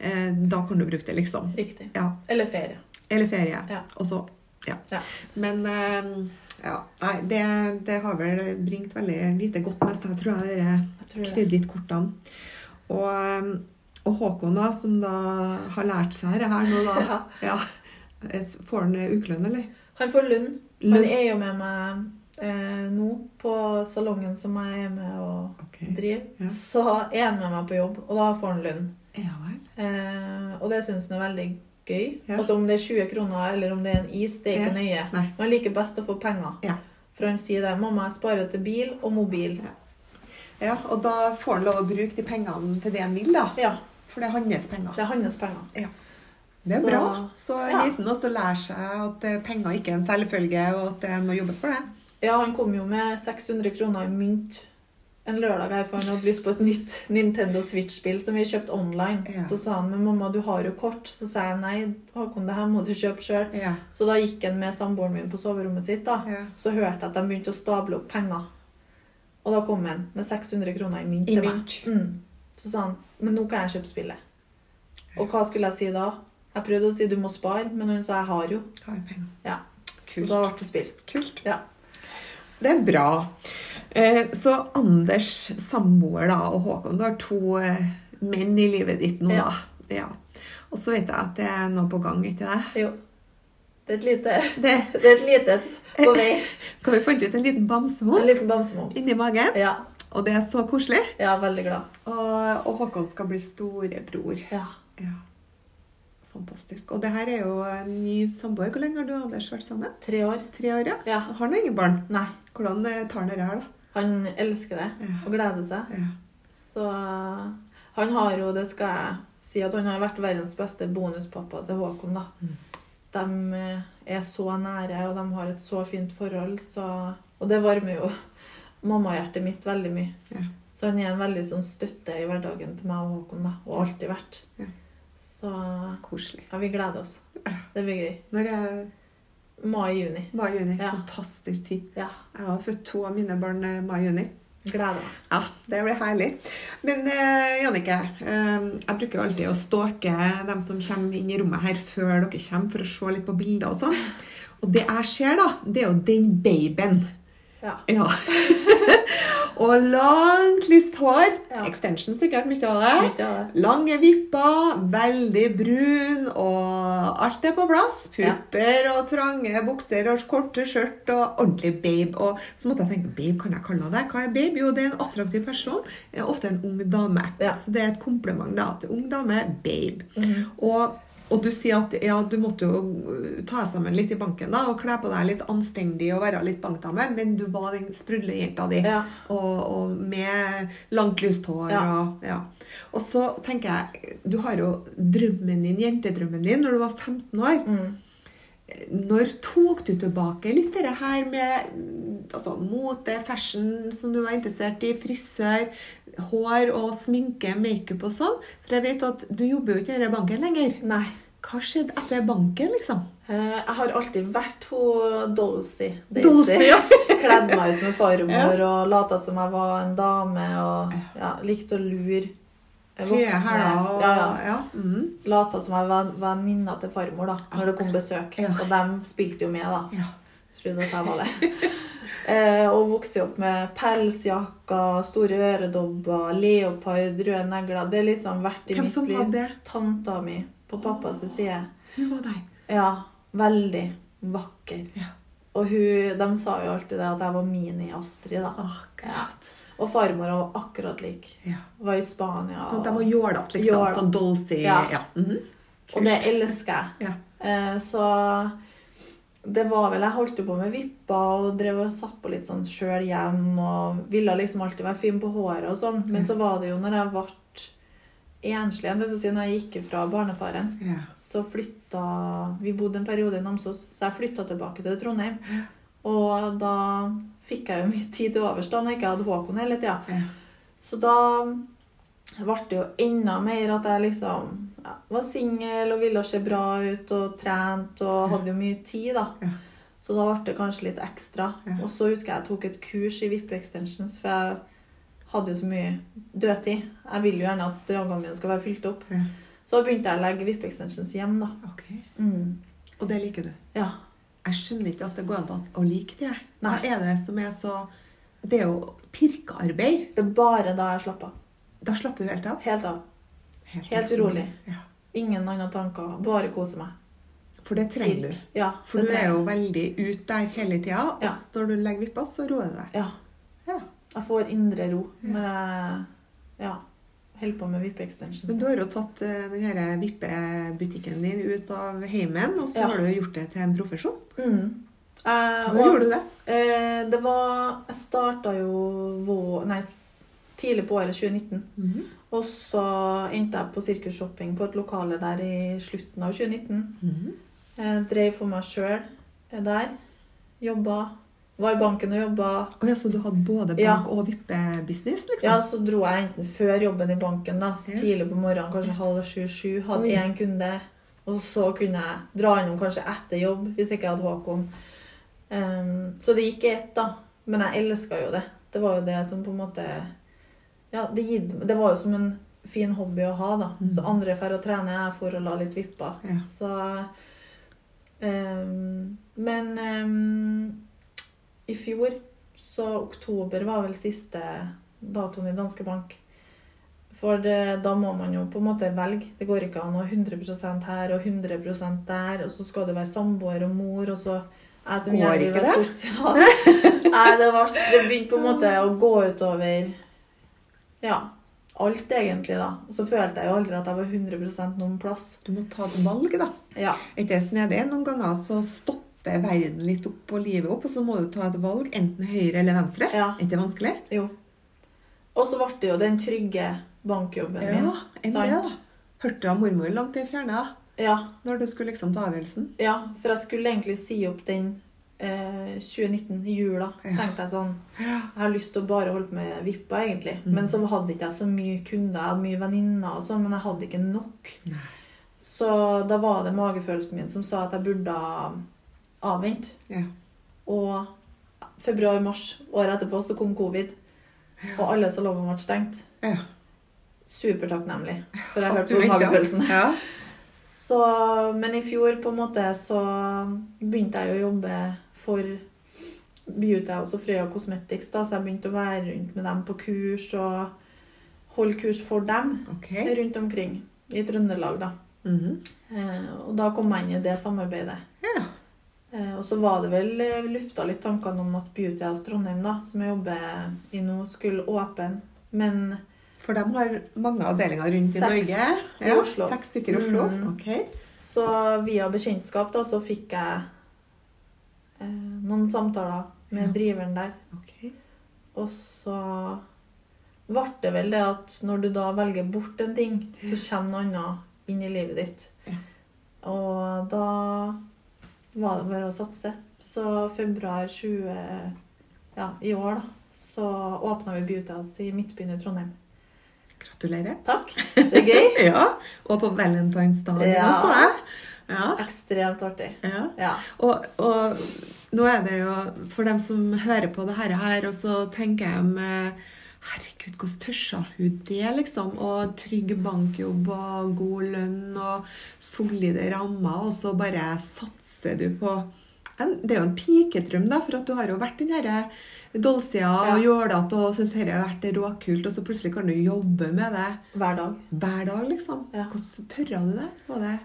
Speaker 1: Eh, da kan du bruke det, liksom.
Speaker 2: Riktig.
Speaker 1: Ja.
Speaker 2: Eller ferie.
Speaker 1: Eller ferie.
Speaker 2: Ja.
Speaker 1: Og så Ja.
Speaker 2: Ja.
Speaker 1: Men eh, ja, nei, det, det har vel bringt veldig lite godt med seg, tror jeg, dere
Speaker 2: Jeg tror det.
Speaker 1: kredittkortene. Og, eh, og Håkon, da, som da har lært seg det her nå, da. ja. Får han ukelønn, eller?
Speaker 2: Han får lønn. Han
Speaker 1: Lønn.
Speaker 2: er jo med meg eh, nå på salongen som jeg er med og
Speaker 1: Ok.
Speaker 2: driver.
Speaker 1: Ja.
Speaker 2: Så er han med meg på jobb, og da får han lønn.
Speaker 1: Ja vel.
Speaker 2: Eh, og det syns han er veldig gøy.
Speaker 1: Ja.
Speaker 2: Altså Om det er 20 kroner eller om det er en is, det er ikke nøye.
Speaker 1: Nei.
Speaker 2: Men han liker best å få penger.
Speaker 1: Ja.
Speaker 2: For han sier det. 'Mamma, jeg sparer til bil og mobil'.
Speaker 1: Ja. ja. Og da får han lov å bruke de pengene til det han vil, da.
Speaker 2: Ja,
Speaker 1: For det er hans penger.
Speaker 2: det er hans penger.
Speaker 1: Ja. Det er
Speaker 2: Så-
Speaker 1: bra. Så
Speaker 2: ja.
Speaker 1: liten også lærer seg at eh, penger ikke er en selvfølge, og at jeg må jobbe for det.
Speaker 2: Ja, han kom jo med 600 kroner i mynt en lørdag her, for han hadde lyst på et nytt Nintendo Switch-spill som vi kjøpte online.
Speaker 1: Ja.
Speaker 2: Så sa han men mamma, du har jo kort. Så sa jeg nei, Håkon, det her må du kjøpe sjøl.
Speaker 1: Ja.
Speaker 2: Så da gikk han med samboeren min på soverommet sitt. da.
Speaker 1: Ja.
Speaker 2: Så hørte jeg at de begynte å stable opp penger. Og da kom han med 600 kroner i mynt
Speaker 1: I
Speaker 2: til meg.
Speaker 1: mynt.
Speaker 2: Mm. Så sa han men nå kan jeg kjøpe spillet. Og hva skulle jeg si da? Jeg prøvde å si du må spare, men han sa jeg har jo.
Speaker 1: Har penger.
Speaker 2: Ja. Så
Speaker 1: Kult.
Speaker 2: da ble det spill.
Speaker 1: Kult.
Speaker 2: Ja.
Speaker 1: Det er bra. Eh, Så Anders, samboer da, og Håkon, du har to eh, menn i livet ditt nå,
Speaker 2: Ja.
Speaker 1: da. Ja. Og så vet jeg at det er noe på gang, ikke det?
Speaker 2: Jo. Det er et lite
Speaker 1: det
Speaker 2: Det er et lite et på vei.
Speaker 1: kan vi fant ut en liten
Speaker 2: En
Speaker 1: bamsemums
Speaker 2: liten bamsemums.
Speaker 1: inni magen.
Speaker 2: Ja.
Speaker 1: Og det er så koselig.
Speaker 2: ja, veldig glad.
Speaker 1: Og, og Håkon skal bli storebror.
Speaker 2: Ja.
Speaker 1: Ja. Fantastisk. Og det her er jo en ny samboer. Hvor lenge har du og Anders vært sammen?
Speaker 2: Tre år.
Speaker 1: Tre år, ja?
Speaker 2: Ja.
Speaker 1: Har han ingen barn?
Speaker 2: Nei.
Speaker 1: Hvordan eh, tar han dette her, da?
Speaker 2: Han elsker det
Speaker 1: Ja.
Speaker 2: og gleder seg.
Speaker 1: Ja.
Speaker 2: Så han har jo, det skal jeg si, at han har vært verdens beste bonuspappa til Håkon, da.
Speaker 1: Mm.
Speaker 2: De eh, er så nære, og de har et så fint forhold, så Og det varmer jo mammahjertet mitt veldig mye.
Speaker 1: Ja.
Speaker 2: Så han er en veldig sånn støtte i hverdagen til meg og Håkon, da. Og alltid vært.
Speaker 1: Ja.
Speaker 2: Så
Speaker 1: Koselig.
Speaker 2: ja, vi gleder oss. Det blir gøy.
Speaker 1: Når jeg
Speaker 2: Mai-juni.
Speaker 1: Mai-juni.
Speaker 2: Ja.
Speaker 1: Fantastisk tid.
Speaker 2: Ja.
Speaker 1: Jeg har født to av mine barn eh, mai-juni.
Speaker 2: Gleder meg.
Speaker 1: Ja, det blir herlig. Men eh, Jannicke, eh, jeg bruker jo alltid å stalke dem som kommer inn i rommet her før dere kommer, for å se litt på bilder og sånn. Og det jeg ser, da, det er jo den babyen.
Speaker 2: Ja.
Speaker 1: Ja. og langt, lyst hår.
Speaker 2: Ja.
Speaker 1: Extension sikkert, mye av det.
Speaker 2: Mye av
Speaker 1: Lange vipper, veldig brun, og alt er på plass.
Speaker 2: Ja.
Speaker 1: Pupper og trange bukser og korte skjørt og ordentlig babe. Og så måtte jeg tenke, babe kan jeg kalle deg? Hva er babe? Jo, det er en attraktiv person. eh, Ofte en ung dame.
Speaker 2: Ja. Mhm.
Speaker 1: Så det er et kompliment da, til ung dame, babe. Og og du sier at ja, du måtte jo uh, ta deg sammen litt i banken da, og kle på deg litt anstendig og være litt bankdame, men du var den sprudle jenta di.
Speaker 2: Ja.
Speaker 1: Og, og med langt, lyst hår.
Speaker 2: Ja.
Speaker 1: Og, ja. og så tenker jeg, du har jo drømmen din, jentedrømmen din, når du var 15 år.
Speaker 2: Mm.
Speaker 1: Når tok du tilbake litt det her med mm, altså, mote, fashion som du var interessert i, frisør, hår og sminke, makeup og sånn? For jeg vet at du jobber jo ikke i denne banken lenger.
Speaker 2: Nei.
Speaker 1: Hva skjedde etter banken, liksom?
Speaker 2: Eh, Jeg har alltid vært hun Dolcy.
Speaker 1: Dolcy, ja.
Speaker 2: Kledd meg ut med farmor og lata som jeg var en dame. og ja, Likte å lure
Speaker 1: Høye hæler og
Speaker 2: Ja,
Speaker 1: ja,
Speaker 2: ja.
Speaker 1: mm,
Speaker 2: Lata som jeg var venninna til farmor da, når det kom besøk.
Speaker 1: Ja.
Speaker 2: Og dem spilte jo med, da.
Speaker 1: ja.
Speaker 2: Trodde at jeg var det. Eh, og vokste opp med pelsjakker, store øredobber, leopard, røde negler. Det har liksom vært i
Speaker 1: Hvem
Speaker 2: mitt
Speaker 1: som
Speaker 2: liv.
Speaker 1: hadde det?
Speaker 2: Tanta mi på pappas side.
Speaker 1: Hun var deg.
Speaker 2: Ja, veldig vakker.
Speaker 1: Ja.
Speaker 2: Og hun, de sa jo alltid det at jeg var mini-Astrid, da.
Speaker 1: Akkurat.
Speaker 2: Ja. Og farmor var akkurat lik.
Speaker 1: Ja.
Speaker 2: Var i Spania.
Speaker 1: Så de
Speaker 2: og-
Speaker 1: var jålete, liksom.
Speaker 2: Jålete.
Speaker 1: Sånn dolsy Ja.
Speaker 2: Ja.
Speaker 1: mhm.
Speaker 2: og det elsker jeg.
Speaker 1: Ja.
Speaker 2: Eh, Så det var vel Jeg holdt jo på med vipper og drev og satt på litt sånn sjøl hjem og ville liksom alltid være fin på håret og sånn.
Speaker 1: Mm.
Speaker 2: Men så var det jo når jeg ble enslig igjen, det vil si når jeg gikk fra barnefaren,
Speaker 1: Ja.
Speaker 2: så flytta Vi bodde en periode i Namsos, så jeg flytta tilbake til Trondheim. Og da fikk jeg jo mye tid til overs da når jeg ikke hadde Håkon hele tida.
Speaker 1: Ja.
Speaker 2: Så da ble det jo enda mer at jeg liksom ja, var singel og ville se bra ut og trent og hadde jo mye tid, da.
Speaker 1: Ja.
Speaker 2: Så da ble det kanskje litt ekstra.
Speaker 1: Ja.
Speaker 2: Og så husker jeg jeg tok et kurs i VIP Extensions, for jeg hadde jo så mye dødtid. Jeg vil jo gjerne at dragene mine skal være fylt opp.
Speaker 1: Ja.
Speaker 2: Så begynte jeg å legge VIP Extensions hjem, da.
Speaker 1: Ok. Mm. Og det liker du?
Speaker 2: Ja.
Speaker 1: Jeg skjønner ikke at det går an å like det. jeg. Hva
Speaker 2: Nei.
Speaker 1: er det som er så Det er jo pirkearbeid.
Speaker 2: Det er bare da jeg slapp av.
Speaker 1: Da slapper du helt av.
Speaker 2: Helt av. Helt rolig.
Speaker 1: Ja.
Speaker 2: Ingen andre tanker. Bare kose meg.
Speaker 1: For det trenger du.
Speaker 2: Ja,
Speaker 1: For
Speaker 2: det
Speaker 1: du er
Speaker 2: trenger
Speaker 1: jo veldig ut der hele tida, og
Speaker 2: Ja.
Speaker 1: når du legger vippa, så roer du deg.
Speaker 2: Ja.
Speaker 1: Ja.
Speaker 2: Jeg får indre ro når jeg ja, holder på med vippe-extensions.
Speaker 1: Men du har jo tatt eh, den her vippebutikken din ut av heimen, og så
Speaker 2: Ja.
Speaker 1: har du gjort det til en profesjon.
Speaker 2: Mm. Eh,
Speaker 1: Hvor
Speaker 2: og,
Speaker 1: gjorde du det?
Speaker 2: Eh, det var Jeg starta jo vå, nei, s- tidlig på året 2019.
Speaker 1: Mhm.
Speaker 2: Og så endte jeg på Sirkus Shopping på et lokale der i slutten av 2019.
Speaker 1: Mhm.
Speaker 2: Eh, drev for meg sjøl der. Jobba. Var i banken og jobba.
Speaker 1: Å ja, så du hadde både bank-
Speaker 2: Ja.
Speaker 1: og vippebusiness, liksom?
Speaker 2: Ja, så dro jeg enten før jobben i banken, da, så
Speaker 1: Ja.
Speaker 2: tidlig på morgenen, kanskje halv sju-sju, hadde
Speaker 1: Oi.
Speaker 2: én kunde. Og så kunne jeg dra innom kanskje etter jobb, hvis jeg ikke hadde Håkon. Ehm, så det gikk i ett, da. Men jeg elska jo det. Det var jo det som på en måte Ja, det, gitt, det var jo som en fin hobby å ha, da. Så andre drar og trener, jeg får og la litt vippa.
Speaker 1: Mm. Ja.
Speaker 2: Så ehm, Men ehm, i fjor, så oktober var vel siste datoen i Danske Bank. For det, da må man jo på en måte velge. Det går ikke an å ha 100 her og 100 der, og så skal du være samboer og mor, og så jeg som
Speaker 1: Går
Speaker 2: gjerne vil
Speaker 1: ikke
Speaker 2: være
Speaker 1: det?
Speaker 2: sosial. Nei, det, var, det begynte på en måte å gå utover ja, alt, egentlig. da. Og så følte jeg jo aldri at jeg var 100 noen plass.
Speaker 1: Du må ta et valg, da.
Speaker 2: Ja.
Speaker 1: Er ikke det snedig? Noen ganger så stopper verden litt opp og livet opp, og så må du ta et valg, enten høyre eller venstre.
Speaker 2: Ja.
Speaker 1: Er ikke det vanskelig?
Speaker 2: Jo. Og så ble det jo den trygge bankjobben min.
Speaker 1: Ja, enn det, da. Hørte du av mormor langt i fjerne, da?
Speaker 2: Ja,
Speaker 1: Når du skulle liksom ta avgjørelsen?
Speaker 2: ja, for jeg skulle egentlig si opp den eh, 2019, i jula.
Speaker 1: Ja.
Speaker 2: tenkte jeg sånn. Jeg har lyst til å bare holde på med vippa, egentlig.
Speaker 1: Mm.
Speaker 2: Men så hadde ikke jeg så mye kunder. Jeg hadde mye venninner og sånn, men jeg hadde ikke nok. Så da var det magefølelsen min som sa at jeg burde avvente.
Speaker 1: Ja.
Speaker 2: Og februar-mars året etterpå så kom covid, og alle salongene ble stengt.
Speaker 1: ja.
Speaker 2: Supertakknemlig. For jeg
Speaker 1: At du
Speaker 2: hørte på
Speaker 1: venter.
Speaker 2: magefølelsen.
Speaker 1: Ja.
Speaker 2: Så, men i fjor på en måte så begynte jeg jo å jobbe for Beauty House og Frøya Cosmetics. Da, så jeg begynte å være rundt med dem på kurs og holde kurs for dem
Speaker 1: Ok.
Speaker 2: rundt omkring i Trøndelag. da.
Speaker 1: Mhm.
Speaker 2: Eh, Og da kom jeg inn i det samarbeidet.
Speaker 1: Ja.
Speaker 2: Eh, Og så var det vel eh, lufta litt tankene om at Beauty House Trondheim, da, som jeg jobber i nå, skulle åpne. Men
Speaker 1: For de har mange avdelinger rundt i
Speaker 2: Seks
Speaker 1: Norge.
Speaker 2: i Oslo.
Speaker 1: Seks stykker i Oslo.
Speaker 2: Mhm.
Speaker 1: Ok.
Speaker 2: så via bekjentskap da, så fikk jeg eh, noen samtaler med driveren der.
Speaker 1: Ok.
Speaker 2: Og så ble det vel det at når du da velger bort en ting, så kommer noe annet inn i livet ditt.
Speaker 1: Ja.
Speaker 2: Og da var det bare å satse. Så februar 20 ja, i år, da, så åpna vi Beauty House i Midtbyen i Trondheim.
Speaker 1: Gratulerer.
Speaker 2: Takk. Det er gøy.
Speaker 1: Ja. Og på valentinsdagen
Speaker 2: Ja.
Speaker 1: også, jeg. Ja.
Speaker 2: Ekstremt artig.
Speaker 1: ja.
Speaker 2: Ja.
Speaker 1: Og, og nå er det jo For dem som hører på det her, her og så tenker jeg med Herregud, hvordan tørsa hun det, liksom? Og trygg bankjobb og god lønn og solide rammer, og så bare satser du på en, Det er jo en pikedrøm, da, for at du har jo vært den herre dolsida og jålete og syns dette har vært råkult, og så plutselig kan du jobbe med det
Speaker 2: Hver dag.
Speaker 1: hver dag, liksom.
Speaker 2: Ja.
Speaker 1: Hvordan tørra du det? Var det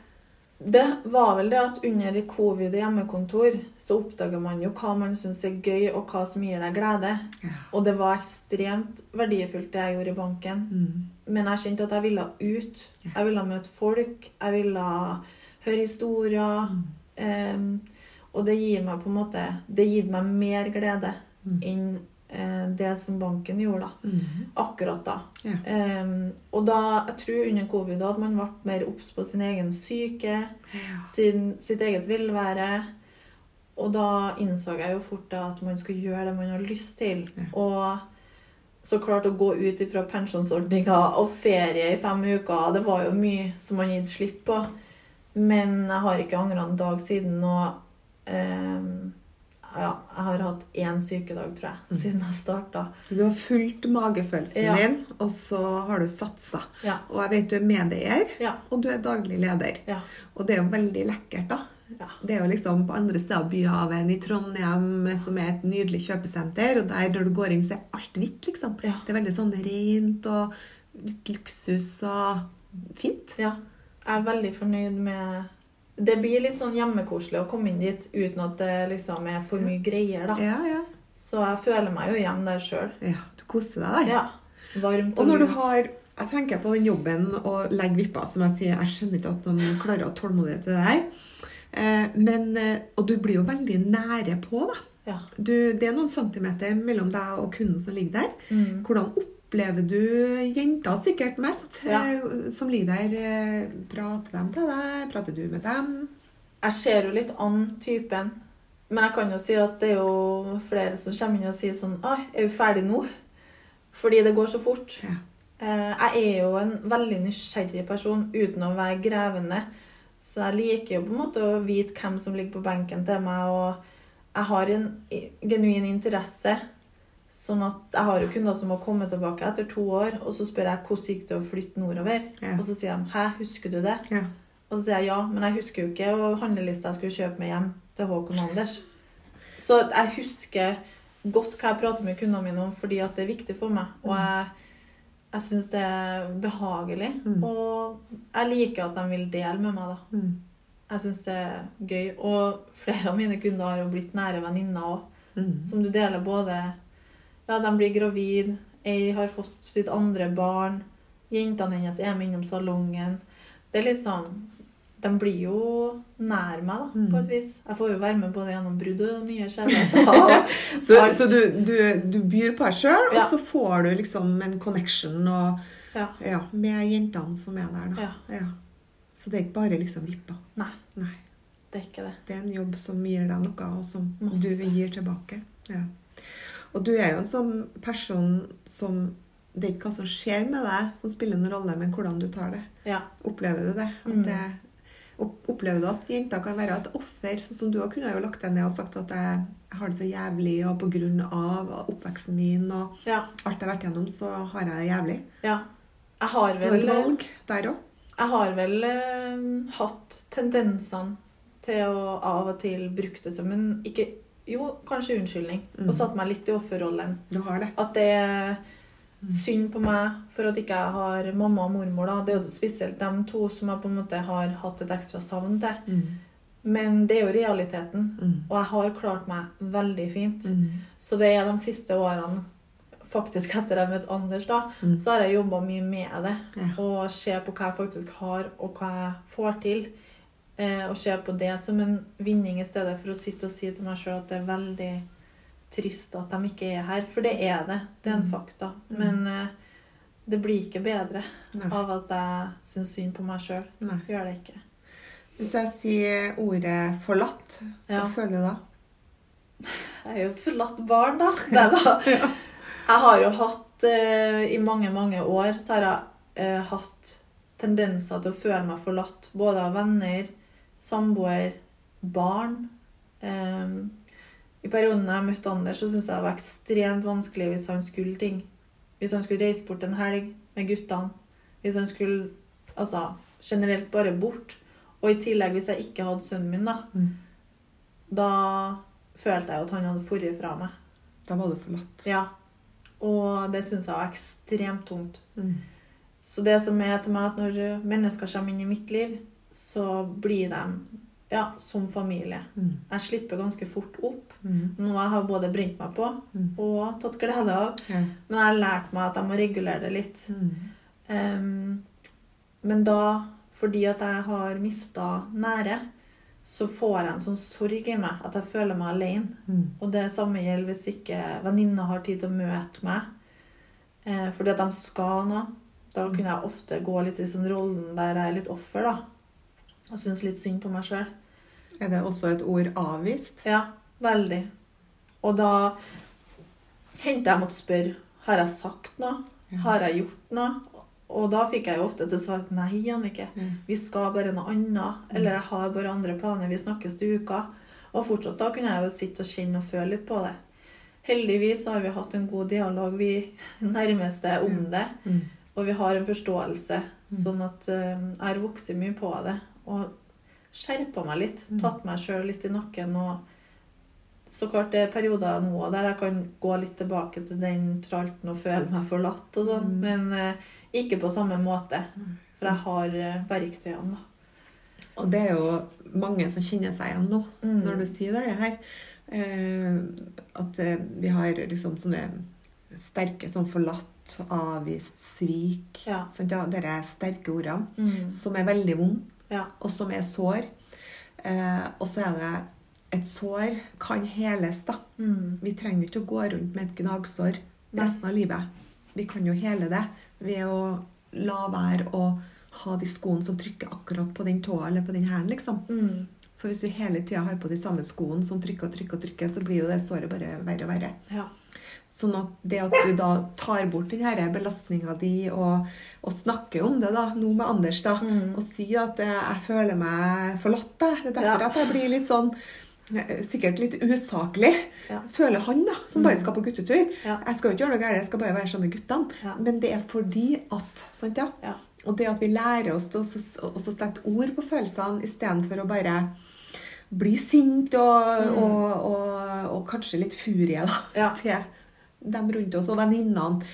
Speaker 2: Det var vel det at under covid og hjemmekontor så oppdager man jo hva man syns er gøy, og hva som gir deg glede.
Speaker 1: Ja.
Speaker 2: Og det var ekstremt verdifullt, det jeg gjorde i banken.
Speaker 1: Mm.
Speaker 2: Men jeg kjente at jeg ville ut. Jeg ville møte folk. Jeg ville høre historier. Em, og det gir meg på en måte Det gir meg mer glede enn eh, det som banken gjorde da. Akkurat da.
Speaker 1: Ja.
Speaker 2: Em, og da, jeg tror under covid da, at man ble mer obs på sin egen syke,
Speaker 1: Ja.
Speaker 2: sin, sitt eget velvære. Og da innså jeg jo fort da at man skulle gjøre det man har lyst til. Og så klart å gå ut ifra pensjonsordninga og ferie i fem uker, det var jo mye som man gitt slipp på. Men jeg har ikke angra en dag siden, og eh, ja, jeg har hatt én sykedag, tror jeg, siden jeg starta.
Speaker 1: Du har fulgt magefølelsen
Speaker 2: Ja.
Speaker 1: din, og så har du satsa.
Speaker 2: Ja.
Speaker 1: Og jeg vet du er medeier,
Speaker 2: Ja.
Speaker 1: og du er daglig leder.
Speaker 2: Ja.
Speaker 1: Og det er jo veldig lekkert, da.
Speaker 2: Ja.
Speaker 1: Det er jo liksom på andre steder av byhavet enn i Trondheim, som er et nydelig kjøpesenter. Og der når du går inn, så er alt hvitt, liksom.
Speaker 2: Ja.
Speaker 1: Det er veldig sånn rent og litt luksus og fint.
Speaker 2: Ja. Jeg er veldig fornøyd med Det blir litt sånn hjemmekoselig å komme inn dit uten at det liksom er for mye greier, da.
Speaker 1: Ja, ja.
Speaker 2: Så jeg føler meg jo hjemme der sjøl.
Speaker 1: ja du koser deg der.
Speaker 2: Ja. Varmt
Speaker 1: Og når du
Speaker 2: lunt.
Speaker 1: har Jeg tenker på den jobben og legger vippa, som jeg sier. Jeg skjønner ikke at noen klarer å ha tålmodighet til det der. Eh, Men, eh, og du blir jo veldig nære på, da.
Speaker 2: Ja.
Speaker 1: Du, det er noen centimeter mellom deg og kunden som ligger der. Hvordan opplever du jenta sikkert mest,
Speaker 2: Ja.
Speaker 1: eh, som ligger der? eh, Prater de til deg? Prater du med dem?
Speaker 2: Jeg ser jo litt an typen. Men jeg kan jo si at det er jo flere som kommer inn og sier sånn Ai, er vi ferdig nå? Fordi det går så fort.
Speaker 1: Ja.
Speaker 2: Eh, Jeg er jo en veldig nysgjerrig person uten å være grevende. Så jeg liker jo på en måte å vite hvem som ligger på benken til meg, og jeg har en i- genuin interesse. Sånn at jeg har jo kunder som har kommet tilbake etter to år, og så spør jeg hvordan gikk det å flytte nordover?
Speaker 1: Ja.
Speaker 2: Og så sier de 'hæ, husker du det?'
Speaker 1: Ja.
Speaker 2: Og så sier jeg ja, men jeg husker jo ikke og handlelista jeg skulle kjøpe med hjem til Håkon og Anders. Så jeg husker godt hva jeg prater med kundene mine om, fordi at det er viktig for meg. Og jeg, jeg syns det er behagelig. Og jeg liker at de vil dele med meg, da.
Speaker 1: Mm.
Speaker 2: Jeg syns det er gøy. Og flere av mine kunder har jo blitt nære venninner òg.
Speaker 1: Mm.
Speaker 2: Som du deler både Ja, de blir gravid, ei har fått sitt andre barn, jentene hennes er med innom salongen. Det er litt sånn De blir jo nær meg, da, på
Speaker 1: Mm.
Speaker 2: et vis. Jeg får jo være med både gjennom brudd og nye kjærligheter.
Speaker 1: Så,
Speaker 2: Alt.
Speaker 1: så du, du, du byr på deg sjøl, og
Speaker 2: Ja.
Speaker 1: så får du liksom en connection og,
Speaker 2: Ja.
Speaker 1: ja, med jentene som er der. Da. Ja. Så det er ikke bare liksom vippa.
Speaker 2: Nei,
Speaker 1: Nei.
Speaker 2: det er ikke det.
Speaker 1: Det er en jobb som gir deg noe, og som
Speaker 2: Masse.
Speaker 1: du gir tilbake. Ja. Og du er jo en sånn person som Det er ikke hva som skjer med deg, som spiller en rolle, men hvordan du tar det.
Speaker 2: Ja.
Speaker 1: Opplever du det? At
Speaker 2: Mm.
Speaker 1: det opp- opplever du at jenter kan være et offer, sånn som du òg kunne ha jo lagt deg ned og sagt at jeg har det så jævlig, og på grunn av oppveksten min og
Speaker 2: Ja.
Speaker 1: alt jeg har vært gjennom, så har jeg det jævlig.
Speaker 2: ja. Jeg har
Speaker 1: Det var et
Speaker 2: vel
Speaker 1: valg der òg.
Speaker 2: Jeg har vel eh, hatt tendensene til å av og til bruke det som en ikke, Jo, kanskje unnskyldning. Og satt meg litt i offerrollen.
Speaker 1: Du har det.
Speaker 2: At det er synd på meg for at ikke jeg har mamma og mormor. da. Det er jo spesielt de to som jeg på en måte har hatt et ekstra savn til. Men det er jo realiteten. Og jeg har klart meg veldig fint. Så det er de siste årene, faktisk etter jeg møtte Anders, da, så har jeg jobba mye med det.
Speaker 1: Mm. Ja.
Speaker 2: Og se på hva jeg faktisk har, og hva jeg får til. Eh, og se på det som en vinning i stedet for å sitte og si til meg sjøl at det er veldig trist at de ikke er her. For det er det. Det
Speaker 1: Mm.
Speaker 2: er en fakta. Men eh, det blir ikke bedre
Speaker 1: Nei.
Speaker 2: av at jeg syns synd på meg sjøl.
Speaker 1: Nei.
Speaker 2: Gjør det ikke.
Speaker 1: Hvis jeg sier ordet 'forlatt', hva
Speaker 2: Ja.
Speaker 1: føler du da?
Speaker 2: Jeg er jo et forlatt barn, da. Nei da. Jeg har jo hatt eh, I mange, mange år så har jeg eh, hatt tendenser til å føle meg forlatt. Både av venner, samboer, barn. Ehm, I perioden da jeg møtte Anders, så syntes jeg det var ekstremt vanskelig hvis han skulle ting. Hvis han skulle reise bort en helg med guttene. Hvis han skulle altså, generelt bare bort. Og i tillegg hvis jeg ikke hadde sønnen min, da. Da følte jeg jo at han hadde forrige fra meg.
Speaker 1: Da var du forlatt.
Speaker 2: Ja. Og det syns jeg var Mm, ekstremt tungt. Så det som er til meg, at når mennesker kommer inn i mitt liv, så blir de ja, som familie. Jeg slipper ganske fort opp.
Speaker 1: Mm.
Speaker 2: Noe jeg har både brent meg på
Speaker 1: Mm.
Speaker 2: og tatt glede av.
Speaker 1: Ja.
Speaker 2: Men jeg har lært meg at jeg må regulere det litt. Ehm, men da, fordi at jeg har mista nære, så får jeg en sånn sorg i meg. At jeg føler meg alene.
Speaker 1: Mm.
Speaker 2: Og det samme gjelder hvis ikke venninner har tid til å møte meg. Eh, fordi at de skal noe. Da kunne jeg ofte gå litt i sånn rollen der jeg er litt offer, da. Og syns litt synd på meg sjøl.
Speaker 1: Er det også et ord avvist?
Speaker 2: Ja, veldig. Og da hendte jeg måtte spørre har jeg sagt noe. Har jeg gjort noe? Og da fikk jeg jo ofte til svar nei, Jannicke. Vi skal bare noe annet. Eller jeg har bare andre planer. Vi snakkes til uka. Og fortsatt da kunne jeg jo sitte og kjenne og føle litt på det. Heldigvis så har vi hatt en god dialog, vi nærmeste, om det. Og vi har en forståelse. Sånn at eh, jeg har vokst mye på det. Og skjerpa meg litt. Tatt meg sjøl litt i nakken. Og så klart det er perioder nå der jeg kan gå litt tilbake til den tralten og føle meg forlatt og
Speaker 1: Mm.
Speaker 2: sånn. Men eh, ikke på samme måte. For jeg har eh, verktøyene, da.
Speaker 1: Og det er jo mange som kjenner seg igjen nå,
Speaker 2: Mm.
Speaker 1: når du sier det her. Eh, at eh, vi har liksom sånne sterke sånn forlatt, avvist, svik.
Speaker 2: Ja.
Speaker 1: Sant, ja, Dere sterke ordene
Speaker 2: Mm.
Speaker 1: som er veldig vondt,
Speaker 2: Ja.
Speaker 1: og som er sår. Eh, og så er det et sår kan heles, da.
Speaker 2: Mm.
Speaker 1: Vi trenger ikke å gå rundt med et gnagsår
Speaker 2: Nei.
Speaker 1: resten av livet. Vi kan jo hele det ved å la være å ha de skoene som trykker akkurat på den tåa eller på den hælen, liksom.
Speaker 2: Mm.
Speaker 1: For hvis vi hele tida har på de samme skoene som trykker og trykker, og trykker, så blir jo det såret bare verre og verre.
Speaker 2: Ja.
Speaker 1: Sånn at det at du da tar bort den her belastninga di og, og snakker om det da, nå med Anders, da,
Speaker 2: Mm.
Speaker 1: og sier at eh, 'jeg føler meg forlatt', da. det er derfor
Speaker 2: Ja.
Speaker 1: at jeg blir litt sånn eh, Sikkert litt usaklig,
Speaker 2: Ja. Mm.
Speaker 1: føler han, da, som bare skal på guttetur.
Speaker 2: Ja.
Speaker 1: 'Jeg skal jo ikke gjøre noe galt, jeg skal bare være sammen med guttene'.
Speaker 2: Ja.
Speaker 1: Men det er fordi at Sant, ja?
Speaker 2: Ja.
Speaker 1: Og det at vi lærer oss til å s- å også sette ord på følelsene istedenfor å bare bli sint og, og, og, og kanskje litt furie da,
Speaker 2: Mm. Ja.
Speaker 1: til dem rundt oss og venninnene.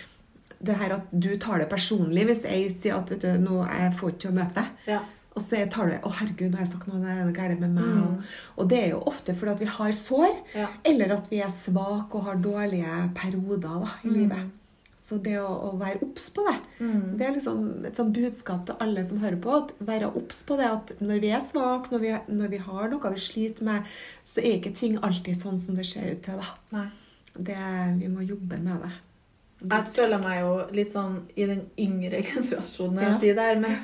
Speaker 1: Det her at du tar det personlig hvis jeg sier at vet du, nå jeg får ikke til å møte deg.
Speaker 2: Ja.
Speaker 1: Og så tar du det 'Å, herregud, nå har jeg sagt noe, det er noe galt med meg.' Og, og det er jo ofte fordi at vi har sår,
Speaker 2: Mm. Ja.
Speaker 1: eller at vi er svake og har dårlige perioder da,
Speaker 2: Mm.
Speaker 1: i livet. Så det å, å være obs på det, det er liksom et sånn budskap til alle som hører på. at Være obs på det at når vi er svake, når, vi- når vi har noe vi sliter med, så er ikke ting alltid sånn som det ser ut til. da.
Speaker 2: Nei.
Speaker 1: Det, vi må jobbe med det.
Speaker 2: Jeg føler meg jo litt sånn i den yngre generasjonen når jeg
Speaker 1: Ja.
Speaker 2: sier det her, men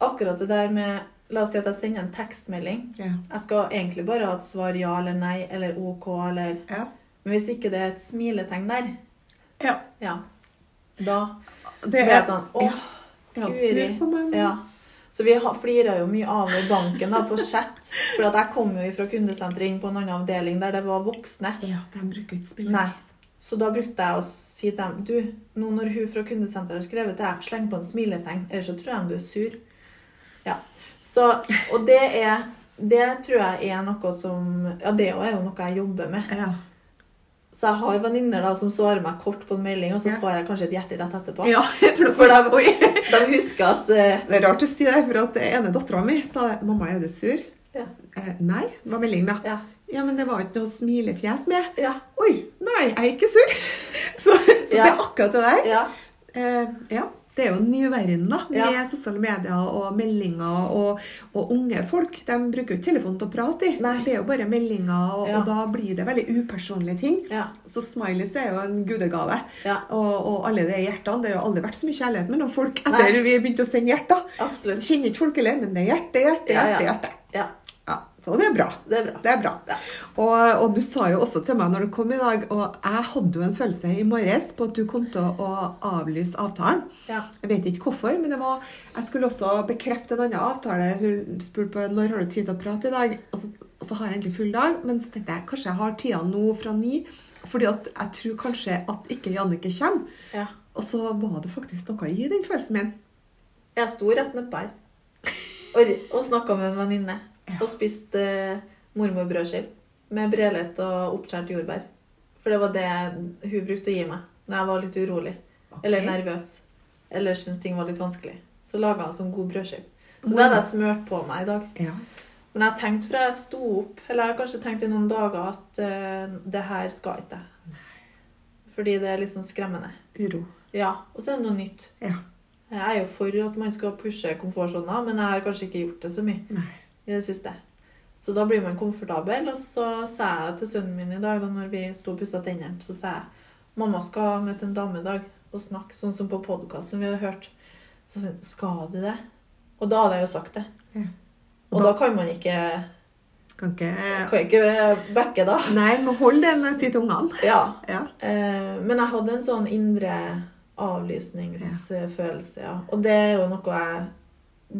Speaker 2: akkurat det der med La oss si at jeg sender en tekstmelding.
Speaker 1: Ja.
Speaker 2: Jeg skal egentlig bare ha et svar ja eller nei eller OK eller
Speaker 1: Ja.
Speaker 2: Men hvis ikke det er et smiletegn der,
Speaker 1: ja.
Speaker 2: ja, da
Speaker 1: Det
Speaker 2: blir
Speaker 1: er
Speaker 2: jeg sånn Åh,
Speaker 1: Ja, sur
Speaker 2: guri.
Speaker 1: på meg nå.
Speaker 2: Ja. Så vi har- flira jo mye av det i banken da, på chat. For at jeg kom jo fra kundesenteret inn på en annen avdeling der det var voksne.
Speaker 1: Ja, de bruker ikke spillet.
Speaker 2: Nei. Så da brukte jeg å si til dem Du, nå når hun fra kundesenteret har skrevet til deg, sleng på en smiletegn, ellers så tror jeg du er sur. Ja. Så, og det er Det tror jeg er noe som Ja, det er jo noe jeg jobber med.
Speaker 1: Ja.
Speaker 2: Så jeg har venninner da som svarer meg kort på en melding, og så
Speaker 1: Ja.
Speaker 2: får jeg kanskje et hjerte rett etterpå.
Speaker 1: ja for, da-
Speaker 2: For da-
Speaker 1: Oi.
Speaker 2: De husker at eh,
Speaker 1: Det er rart å si det, for at ene dattera mi sa det. 'Mamma, er du sur?'
Speaker 2: Ja.
Speaker 1: Eh, nei, var meldingen da.
Speaker 2: Ja.
Speaker 1: men det var ikke noe smilefjes med.
Speaker 2: Ja.
Speaker 1: Oi, nei, jeg er ikke sur. Så, så det
Speaker 2: Ja.
Speaker 1: er akkurat det der.
Speaker 2: Ja.
Speaker 1: Eh, ja. Det er jo en ny verden, da, med
Speaker 2: Ja.
Speaker 1: sosiale medier og meldinger. Og, og unge folk de bruker jo ikke telefonen til å prate i.
Speaker 2: Nei.
Speaker 1: Det er jo bare meldinger, og,
Speaker 2: Ja.
Speaker 1: og da blir det veldig upersonlige ting.
Speaker 2: Ja.
Speaker 1: Så smileys er jo en gudegave.
Speaker 2: Ja.
Speaker 1: Og, og alle de hjertene. Det har jo aldri vært så mye kjærlighet mellom folk etter
Speaker 2: Nei.
Speaker 1: vi begynte å sende hjerter.
Speaker 2: Absolutt.
Speaker 1: Kjenner ikke folk heller, men det er hjerte, hjerte,
Speaker 2: Ja,
Speaker 1: hjerte.
Speaker 2: ja.
Speaker 1: hjerte.
Speaker 2: ja.
Speaker 1: Ja, så det er bra.
Speaker 2: Det er bra.
Speaker 1: Det er bra. Og, og du sa jo også til meg når du kom i dag, og jeg hadde jo en følelse i morges på at du kom til å avlyse avtalen.
Speaker 2: Ja.
Speaker 1: Jeg vet ikke hvorfor, men det var, jeg skulle også bekrefte en annen avtale. Hun spurte på når har du tid til å prate i dag, og så, og så har jeg egentlig full dag. Men så tenkte jeg kanskje jeg har tida nå fra ni, fordi at jeg tror kanskje at ikke Jannicke kommer.
Speaker 2: Ja.
Speaker 1: Og så var det faktisk noe i den følelsen min.
Speaker 2: Jeg sto rett nedpå her og, og snakka med en venninne.
Speaker 1: Ja.
Speaker 2: Og spiste eh, mormorbrødskive med brelett og oppskåret jordbær. For det var det hun brukte å gi meg når jeg var litt urolig
Speaker 1: Ok.
Speaker 2: eller nervøs. Eller syntes ting var litt vanskelig. Så laga hun sånn god brødskive. Så det hadde jeg smurt på meg i dag.
Speaker 1: Ja.
Speaker 2: Men jeg tenkte fra jeg sto opp, eller jeg har kanskje tenkt i noen dager, at eh, det her skal ikke jeg. Fordi det er litt sånn skremmende.
Speaker 1: Uro.
Speaker 2: Ja, og så er det noe nytt.
Speaker 1: Ja.
Speaker 2: Jeg er jo for at man skal pushe komfortsona, men jeg har kanskje ikke gjort det så mye
Speaker 1: Nei.
Speaker 2: i det siste. Så da blir man komfortabel, og så sa jeg til sønnen min i dag, da når vi sto og pussa tennene, så sa jeg mamma skal møte en dame i dag og snakke sånn som på podkast som vi har hørt. Så sa hun skal du det? Og da hadde jeg jo sagt det.
Speaker 1: Ja.
Speaker 2: Og, da, kan man ikke,
Speaker 1: Kan ikke
Speaker 2: kan jeg ikke backe da.
Speaker 1: Nei, må holde den når jeg sier til ungene.
Speaker 2: Ja.
Speaker 1: Ja.
Speaker 2: Eh, men jeg hadde en sånn indre avlysningsfølelse, ja. Og det er jo noe jeg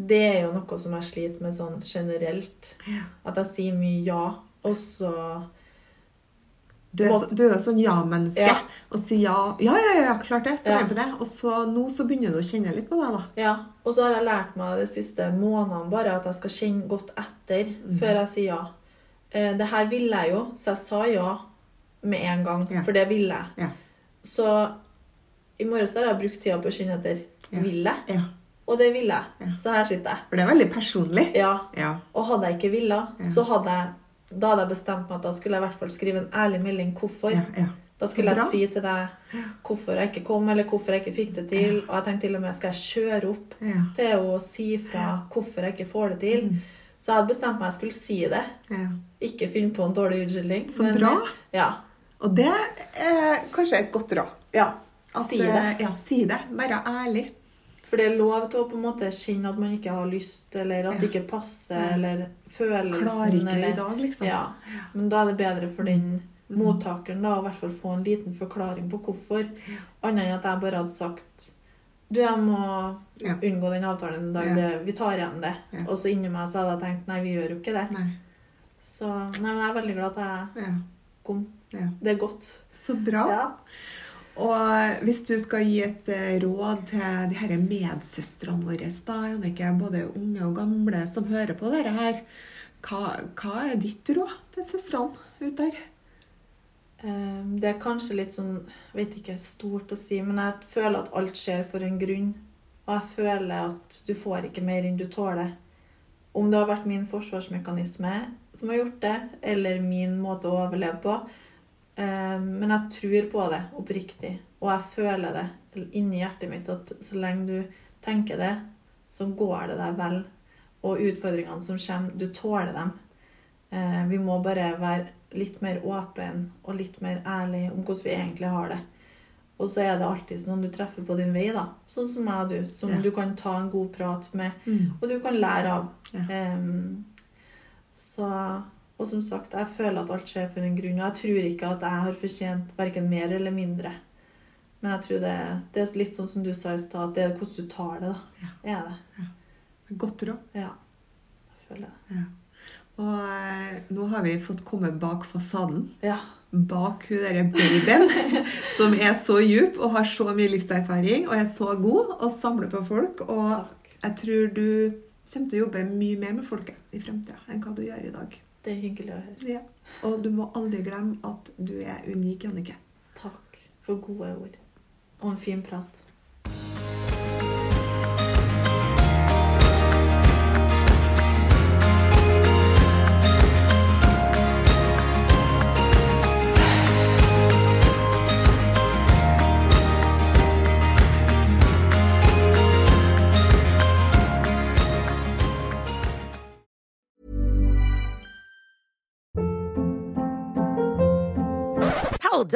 Speaker 2: Det er jo noe som jeg sliter med sånn generelt.
Speaker 1: Ja.
Speaker 2: At jeg sier mye ja, og så
Speaker 1: Du er, så, du er jo sånn ja-menneske
Speaker 2: Ja.
Speaker 1: og sier ja. Ja, ja, ja, klart det. Skal
Speaker 2: Ja.
Speaker 1: være med på det. Og så nå så begynner du å kjenne litt på det, da.
Speaker 2: Ja. Og så har jeg lært meg de siste månedene bare at jeg skal kjenne godt etter
Speaker 1: Mm.
Speaker 2: før jeg sier ja. Eh, det her ville jeg jo, så jeg sa ja med en gang,
Speaker 1: Ja.
Speaker 2: for det ville jeg.
Speaker 1: Ja.
Speaker 2: Så i morges har jeg brukt tida på å kjenne etter.
Speaker 1: Ja.
Speaker 2: Vil jeg?
Speaker 1: ja.
Speaker 2: Og det ville jeg.
Speaker 1: Ja.
Speaker 2: Så her sitter jeg.
Speaker 1: For det er veldig personlig.
Speaker 2: Ja.
Speaker 1: Ja.
Speaker 2: Og hadde jeg ikke villa, så hadde jeg da hadde jeg bestemt meg at da skulle jeg i hvert fall skrive en ærlig melding hvorfor.
Speaker 1: Ja, ja.
Speaker 2: Da skulle
Speaker 1: Bra.
Speaker 2: jeg si til deg hvorfor jeg ikke kom, eller hvorfor jeg ikke fikk det til. Og jeg tenkte til og med skal jeg kjøre opp
Speaker 1: Ja. Mm.
Speaker 2: til å si fra hvorfor jeg ikke får det til. Så jeg hadde bestemt meg at jeg skulle si det.
Speaker 1: ja.
Speaker 2: Ikke finne på en dårlig unnskyldning.
Speaker 1: Så bra.
Speaker 2: Ja.
Speaker 1: Og det er kanskje et godt råd.
Speaker 2: ja.
Speaker 1: At,
Speaker 2: si det.
Speaker 1: eh, Ja, si det. Være ærlig.
Speaker 2: For det er lov til å på en måte kjenne at man ikke har lyst, eller at det ikke passer, eller følelsen
Speaker 1: Klarer ikke det
Speaker 2: eller-
Speaker 1: i dag, liksom. Mm.
Speaker 2: Ja. Men da er det bedre for den mottakeren da, å i hvert fall få en liten forklaring på hvorfor. Annet enn at jeg bare hadde sagt Du, jeg må
Speaker 1: Ja.
Speaker 2: unngå den avtalen i dag.
Speaker 1: Ja.
Speaker 2: Det, vi tar igjen det.
Speaker 1: Ja.
Speaker 2: Og så inni meg så hadde jeg tenkt Nei, vi gjør jo ikke det.
Speaker 1: Nei.
Speaker 2: Så nei, men jeg er veldig glad at jeg
Speaker 1: Ja.
Speaker 2: kom.
Speaker 1: Ja.
Speaker 2: Det er godt.
Speaker 1: Så bra. Og hvis du skal gi et eh, råd til de her medsøstrene våre, da, Jannicke, både unge og gamle som hører på dette her, hva, hva er ditt råd til søstrene ute der?
Speaker 2: Eh, Det er kanskje litt sånn jeg vet ikke, stort å si, men jeg føler at alt skjer for en grunn. Og jeg føler at du får ikke mer enn du tåler. Om det har vært min forsvarsmekanisme som har gjort det, eller min måte å overleve på. eh, Men jeg tror på det oppriktig, og jeg føler det inni hjertet mitt at så lenge du tenker det, så går det deg vel. Og utfordringene som kommer, du tåler dem. Eh, Vi må bare være litt mer åpen og litt mer ærlig om hvordan vi egentlig har det. Og så er det alltid noen du treffer på din vei, da. Sånn som meg og du. Som
Speaker 1: Ja.
Speaker 2: du kan ta en god prat med,
Speaker 1: Mm.
Speaker 2: og du kan lære av.
Speaker 1: Ja.
Speaker 2: Em, så Og som sagt, jeg føler at alt skjer for en grunn. Og jeg tror ikke at jeg har fortjent verken mer eller mindre. Men jeg tror det, det er litt sånn som du sa i stad, at det er hvordan du tar det, da. Er det.
Speaker 1: Godt råd.
Speaker 2: Ja. Jeg føler det.
Speaker 1: Ja. Og eh, nå har vi fått komme bak fasaden.
Speaker 2: Ja.
Speaker 1: Bak hun derre babyen som er så djup og har så mye livserfaring og er så god og samler på folk. Og
Speaker 2: Takk.
Speaker 1: jeg tror du kommer til å jobbe mye mer med folket i fremtida enn hva du gjør i dag.
Speaker 2: Det er hyggelig å høre.
Speaker 1: Ja. Og du må aldri glemme at du er unik, Jannicke.
Speaker 2: Takk for gode ord. Og en fin prat.
Speaker 3: Hold